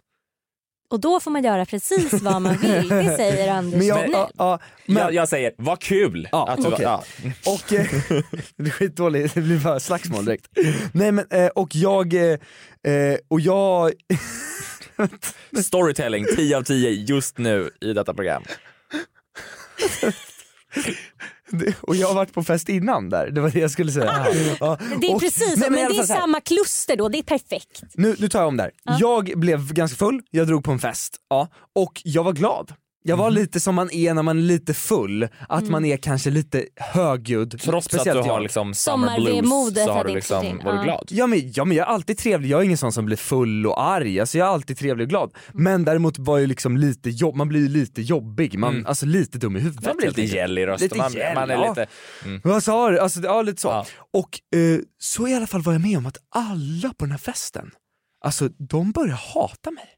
D: Och då får man göra precis vad man vill. Det säger Anders
H: Men jag-
D: Tegnell.
H: ja, ja, men-
F: Jag, jag säger, vad kul! att du var-
H: okej.
F: ja.
H: Och, eh, det är skitdåligt, det blir bara slagsmål direkt. Nej men, eh, och jag, eh, eh, och jag,
F: Storytelling 10 av 10 just nu i detta program.
H: och jag har varit på fest innan där, det var det jag skulle säga. Ja,
D: Ah. Det är
H: och-
D: precis
H: nej,
D: men,
H: i alla
D: det är
H: fall så här.
D: samma kluster då, det är perfekt.
H: Nu, nu tar jag om där. Jag blev ganska full, jag drog på en fest, ja, och jag var glad. Jag var lite som man är när man är lite full, att
D: Mm.
H: man är kanske lite högljudd.
F: Trots
H: speciellt
F: att du har
H: jag.
F: liksom summer blues
D: Sommarvemodet
F: så har
D: hade
F: du
D: inte
F: liksom,
D: till.
F: var du
D: Ja.
F: glad?
H: Ja men, ja men jag är alltid trevlig, jag är ingen sån som blir full och arg, alltså jag är alltid trevlig och glad. Men däremot var jag liksom lite jobb, man blir ju lite jobbig, man,
F: Mm.
H: alltså lite dum i huvudet.
F: Man blir
H: helt
F: lite
H: enkelt.
F: gäll i
H: Lite
F: rösten. Man,
H: gäll,
F: man är
H: ja.
F: lite... Mm.
H: Vad sa du? Alltså, ja lite så. Och eh, så i alla fall var jag med om att alla på den här festen, alltså de började hata mig.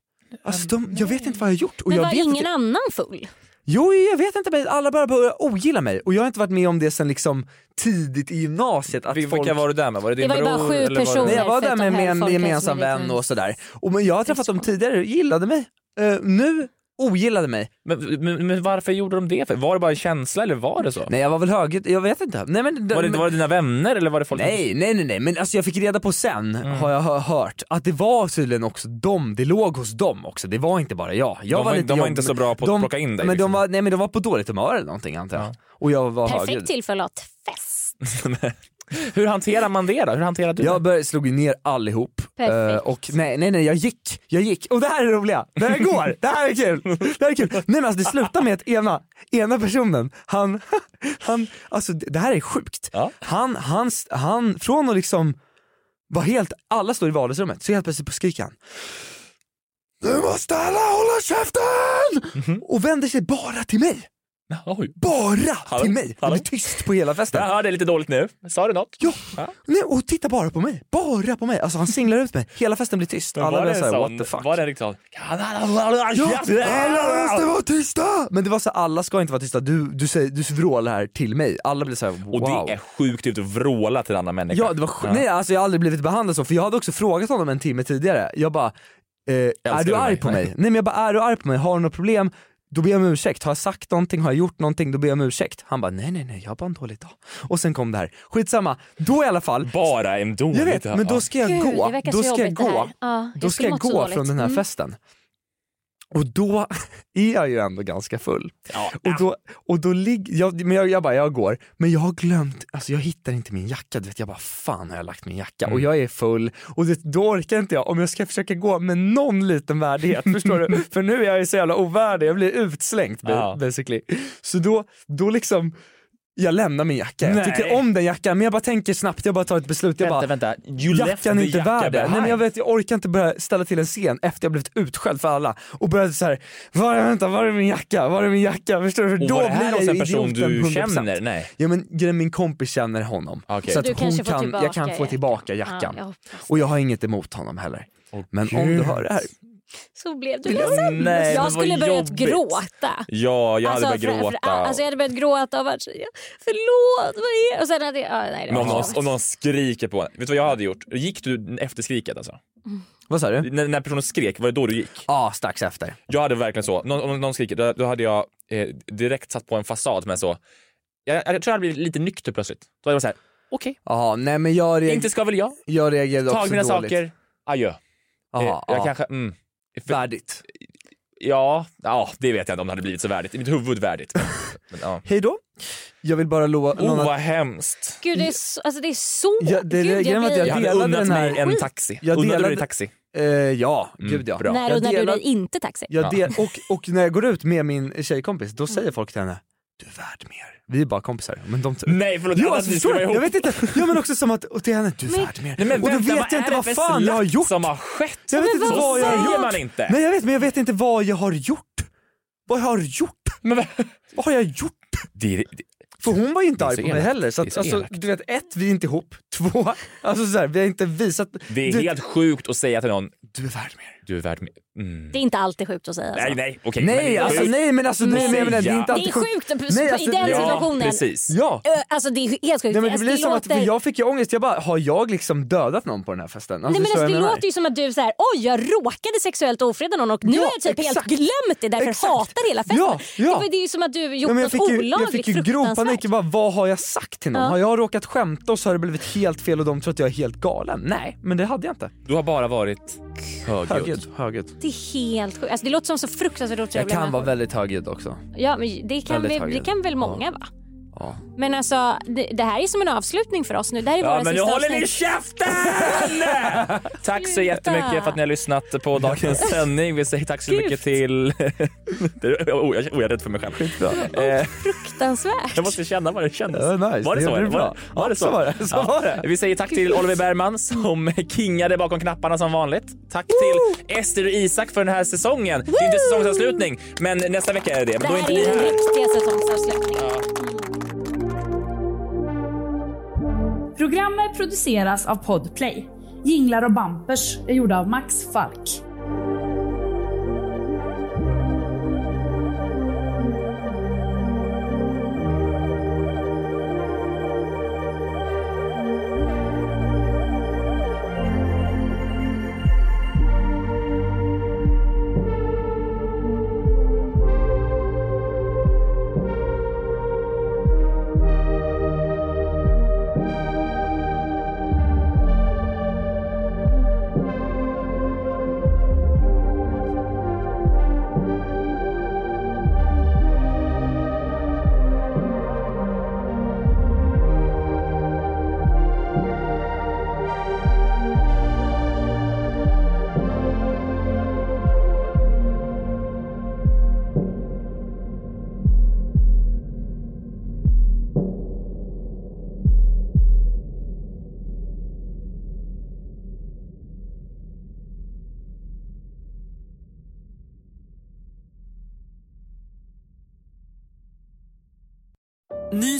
H: Alltså de, jag vet inte vad jag har gjort. Och
D: Men
H: jag
D: var
H: vet
D: ingen
H: inte,
D: annan full?
H: Jo jag vet inte, men alla bara började ogilla mig och jag har inte varit med om det sen liksom tidigt i gymnasiet. Att
F: Vilka
H: folk...
F: var du där med? Var det din
D: Det var ju bara
F: bror?
D: sju
F: eller var det-
H: Nej, jag var där med,
D: förutom
H: med en
D: Hellfolket
H: gemensam
D: som är lite-
H: vän och sådär. Och, men jag har träffat dem tidigare, gillade mig. Eh, nu ogillade mig.
F: Men, men, men varför gjorde de det? För? Var det bara en känsla eller var det så?
H: Nej jag var väl högljudd, jag vet inte. Nej, men,
F: Var det, var det dina vänner eller var det folk som-
H: Nej, nej, nej, nej, men alltså jag fick reda på sen,
F: Mm.
H: har jag hö- hört, att det var tydligen också dem, det låg hos dem också, det var inte bara jag. jag
F: De var-
H: lite
F: de var
H: jobbig,
F: inte
H: men
F: så bra på att
H: de,
F: plocka in dig,
H: Men
F: liksom.
H: de, var, nej, men de var på dåligt humör eller någonting antar jag. Och jag var högljudd.
D: Perfekt tillfälle att ha fest.
F: liksom. Hur hanterar man det då? Hur hanterar du
H: Jag började, slog ju ner allihop.
D: Perfekt.
H: Eh, och nej, nej, nej, jag gick, jag gick. Och det här är det roliga, det här går, det här är kul. Det här är kul. Nej men alltså det slutar med att ena, ena personen, han, han, alltså det det här är sjukt. Han, han, han, från att liksom var helt, alla står i vardagsrummet, så helt plötsligt skriker han Du måste alla hålla käften! Och vänder sig bara till mig. Bara till mig! Och det är tyst på hela festen.
F: Jag hörde lite dåligt nu. Sa du något?
H: Ja. Nej, och titta bara på mig, bara på mig. Alltså han singlar ut mig, hela festen blir tyst. Alla
F: var
H: blir
F: det en
H: såhär what
F: sån-
H: the fuck.
F: Var det liksom...
H: Ja, alla måste vara tysta! Men det var så här, alla ska inte vara tysta, du, du, säger, du vrålar här till mig. Alla blir såhär wow.
F: Och det är sjukt ut att vråla till en annan människa.
H: Ja, det var sj- Nej, alltså jag har aldrig blivit behandlad så, för jag hade också frågat honom en timme tidigare. Jag bara, eh,
F: Älskar
H: är
F: du
H: du arg
F: mig?
H: på mig?
F: Nej.
H: Nej men jag bara, är du arg på mig? Har du något problem? Då ber jag om ursäkt. Har jag sagt någonting? Har jag gjort någonting? Då ber jag om ursäkt. Han bara, nej nej nej, jag har bara en dålig dag. Och sen kom det här. Skitsamma, då i alla fall.
F: Bara en dålig
H: Jag vet,
F: dag.
H: men då ska jag
D: Gud,
H: gå.
D: det verkar
H: Då
D: så
H: ska jag
D: jobbigt det
H: gå.
D: här. Ja, jag
H: Då ska
D: skulle
H: jag
D: mått så
H: gå
D: dåligt.
H: från den här
D: Mm.
H: festen. Och då är jag ju ändå ganska full. Och då, och då ligger, jag, men jag, jag bara, jag går, men jag har glömt, alltså jag hittar inte min jacka, du vet jag bara fan har jag lagt min jacka?
F: Mm.
H: Och jag är full och det, då orkar inte jag, om jag ska försöka gå med någon liten värdighet, förstår du? För nu är jag ju så jävla ovärdig, jag blir utslängd ba-
F: Ja.
H: basically. Så då, då liksom, jag lämnar min jacka, jag
F: Nej.
H: tycker om den jackan men jag bara tänker snabbt, jag bara tar ett beslut, jag bara,
F: vänta, vänta. You left
H: jackan
F: the
H: är inte
F: jacka
H: värd det. Nej, men jag,
F: behind.
H: vet, jag orkar inte börja ställa till en scen efter jag blivit utskälld för alla och började så här, var är, vänta, var är min jacka? Var är min jacka? Förstår du?
F: Och
H: då
F: var det här
H: blir
F: hos
H: jag
F: en
H: ju
F: person du
H: idioten 100%.
F: känner? Nej.
H: Ja men grejen, min kompis känner honom. Så
F: Så
H: att
F: du
H: hon
F: kanske får
H: kan, jag kan
F: tillbaka
H: få tillbaka
D: jackan.
H: jackan.
D: Ja, jag hoppas
H: och jag har inget emot honom heller. men om du
F: Gud.
H: hör det här.
D: Så blev du
F: Nej,
D: ledsen.
F: men vad
D: jag skulle börjat
F: jobbigt.
D: gråta.
F: Ja, jag hade börjat
D: för- för-
F: gråta.
D: alltså jag hade börjat gråta och varit så, ja, förlåt, vad är det? Och sen hade jag, ja, nej, det
F: Men
D: var
F: om någon,
D: jobbigt.
F: om någon skriker på en. Vet du vad jag hade gjort? Gick du efter skriket alltså?
D: Mm.
H: Vad sa du?
F: När, när personen skrek, var det då du gick?
H: Ja, strax efter.
F: Jag hade verkligen så. Någon, om någon skriker, då, då hade jag eh, direkt satt på en fasad med så. Jag, jag tror jag hade blivit lite nykter plötsligt. Då hade jag varit så här, okej,
H: Ja, nej men jag reagerade...
F: Inte ska väl jag?
H: Jag reagerade
F: tag
H: också
F: mina
H: dåligt.
F: saker, adjö.
H: Ja,
F: Eh, jag
H: ja.
F: kanske, mm. För-
H: Värdigt.
F: Ja, ja, det vet jag inte om det hade blivit så värdigt. I mitt huvud värdigt. Men, men, ja.
H: Hej då. Jag vill bara lova...
F: Oh, vad hemskt.
D: Gud, det är så... Alltså, det är så
H: Ja, det,
D: Gud,
H: det, grejen var att jag,
F: Jag hade
H: delade
F: unnat
H: den här...
F: mig en taxi.
H: Jag
F: Unnade du dig
H: delade-
F: taxi?
H: Eh, ja, gud ja.
F: bra.
D: När
H: Jag
D: unnade du
H: delade-
D: dig inte taxi?
H: Jag del, och, och när jag går ut med min tjejkompis, då säger folk till henne du är värd mer. Vi är bara kompisar. Men de
F: Nej förlåt,
H: Jo,
F: jag
H: alltså,
F: alltså,
H: förstår
F: ska vara
H: du?
F: ihop.
H: Jag vet inte. Ja men också som att, och det är du är
F: Men-
H: värd mer.
F: Nej, men
H: och då
F: vänta, vad
H: vet jag
F: är
H: inte
F: det
H: vad
F: för
H: fan jag har
F: slakt
H: gjort.
F: som har skett?
H: Jag vet
F: Men
H: inte
F: vad
H: vad jag
F: säger
H: har gjort.
F: man inte?
H: Nej jag vet, men jag vet inte vad jag har gjort. Vad jag har gjort? vad har jag gjort?
F: Det, det,
H: För hon var ju inte
F: är
H: arg
F: så
H: på mig
F: elakt.
H: heller. Så
F: Det är
H: att,
F: så
H: alltså,
F: elakt.
H: du vet, ett, vi är inte ihop. Två, alltså så här, vi har inte visat...
F: det är
H: du,
F: helt sjukt att säga till någon,
H: du är värd mer.
F: Du är värd mer. Mm.
D: Det är inte alltid sjukt att säga så.
F: Nej, nej, okej. men det
H: Nej,
F: är
H: alltså,
F: sjukt.
H: nej men alltså nej, men jag menar, det är inte alltid alltså,
D: Det är sjukt att- i den situationen.
H: Ja, precis. Ja.
D: Ö, Alltså det är helt
H: Nej,
D: sjukt.
H: men det
D: Alltså,
H: blir som att
D: låter-
H: för jag fick ju ångest, jag bara, har jag liksom dödat någon på den här festen?
D: Nej, men
H: förstår
D: alltså,
H: jag
D: det
H: vad jag
D: låter ju som att du så här, oj jag råkade sexuellt ofreda någon och nu
H: Ja,
D: har jag typ helt
H: exakt.
D: glömt det därför
H: Exakt.
D: hatar hela festen.
H: Ja, ja.
D: Det, var- det är ju som att du gjort
H: Ja, men jag
D: något
H: fick ju,
D: olagligt
H: jag fick ju grov
D: fruktansvärt.
H: panik, Jag bara, vad har jag sagt till någon?
D: Ja.
H: Har jag råkat skämta och så har det blivit helt fel och de tror att jag är helt galen? Nej, men det hade jag inte.
F: Du har bara varit högljudd.
H: Högljudd. högljudd.
D: Det är helt sjukt. Alltså, det låter som så fruktansvärt
H: Jag
D: otrevliga
H: kan vara
D: människor.
H: väldigt högljudd också.
D: Ja, men det, kan
H: väldigt
D: väl, det
H: högljudd.
D: kan väl många va?
H: Ja.
D: Men alltså det, det här är som en avslutning för oss nu. Det här är
F: Ja,
D: våra
F: men nu
D: sista
F: håller ni
D: avsnitt.
F: käften! tack så jättemycket för att ni har lyssnat på dagens sändning. Vi säger tack så mycket till... Det- oh, jag, oh, jag är rädd för mig själv. Eh,
D: Fruktansvärt.
F: jag måste känna vad det kändes.
H: Ja, nice.
F: Var det
H: Det
F: så?
H: blir
F: eller?
H: bra.
F: Var, var det så?
H: Så var det. Så
F: Ja.
H: var det.
F: Vi säger tack till Oliver Bergman som kingade bakom knapparna som vanligt. Tack till Ester och Isak för den här säsongen. Det är inte säsongsavslutning, men nästa vecka är det det.
D: Det
F: Men då är
D: här
F: inte ni
D: är den
F: här.
D: riktiga säsongsavslutningen.
G: Programmet produceras av Podplay. Jinglar och bampers är gjorda av Max Falk.
A: Ny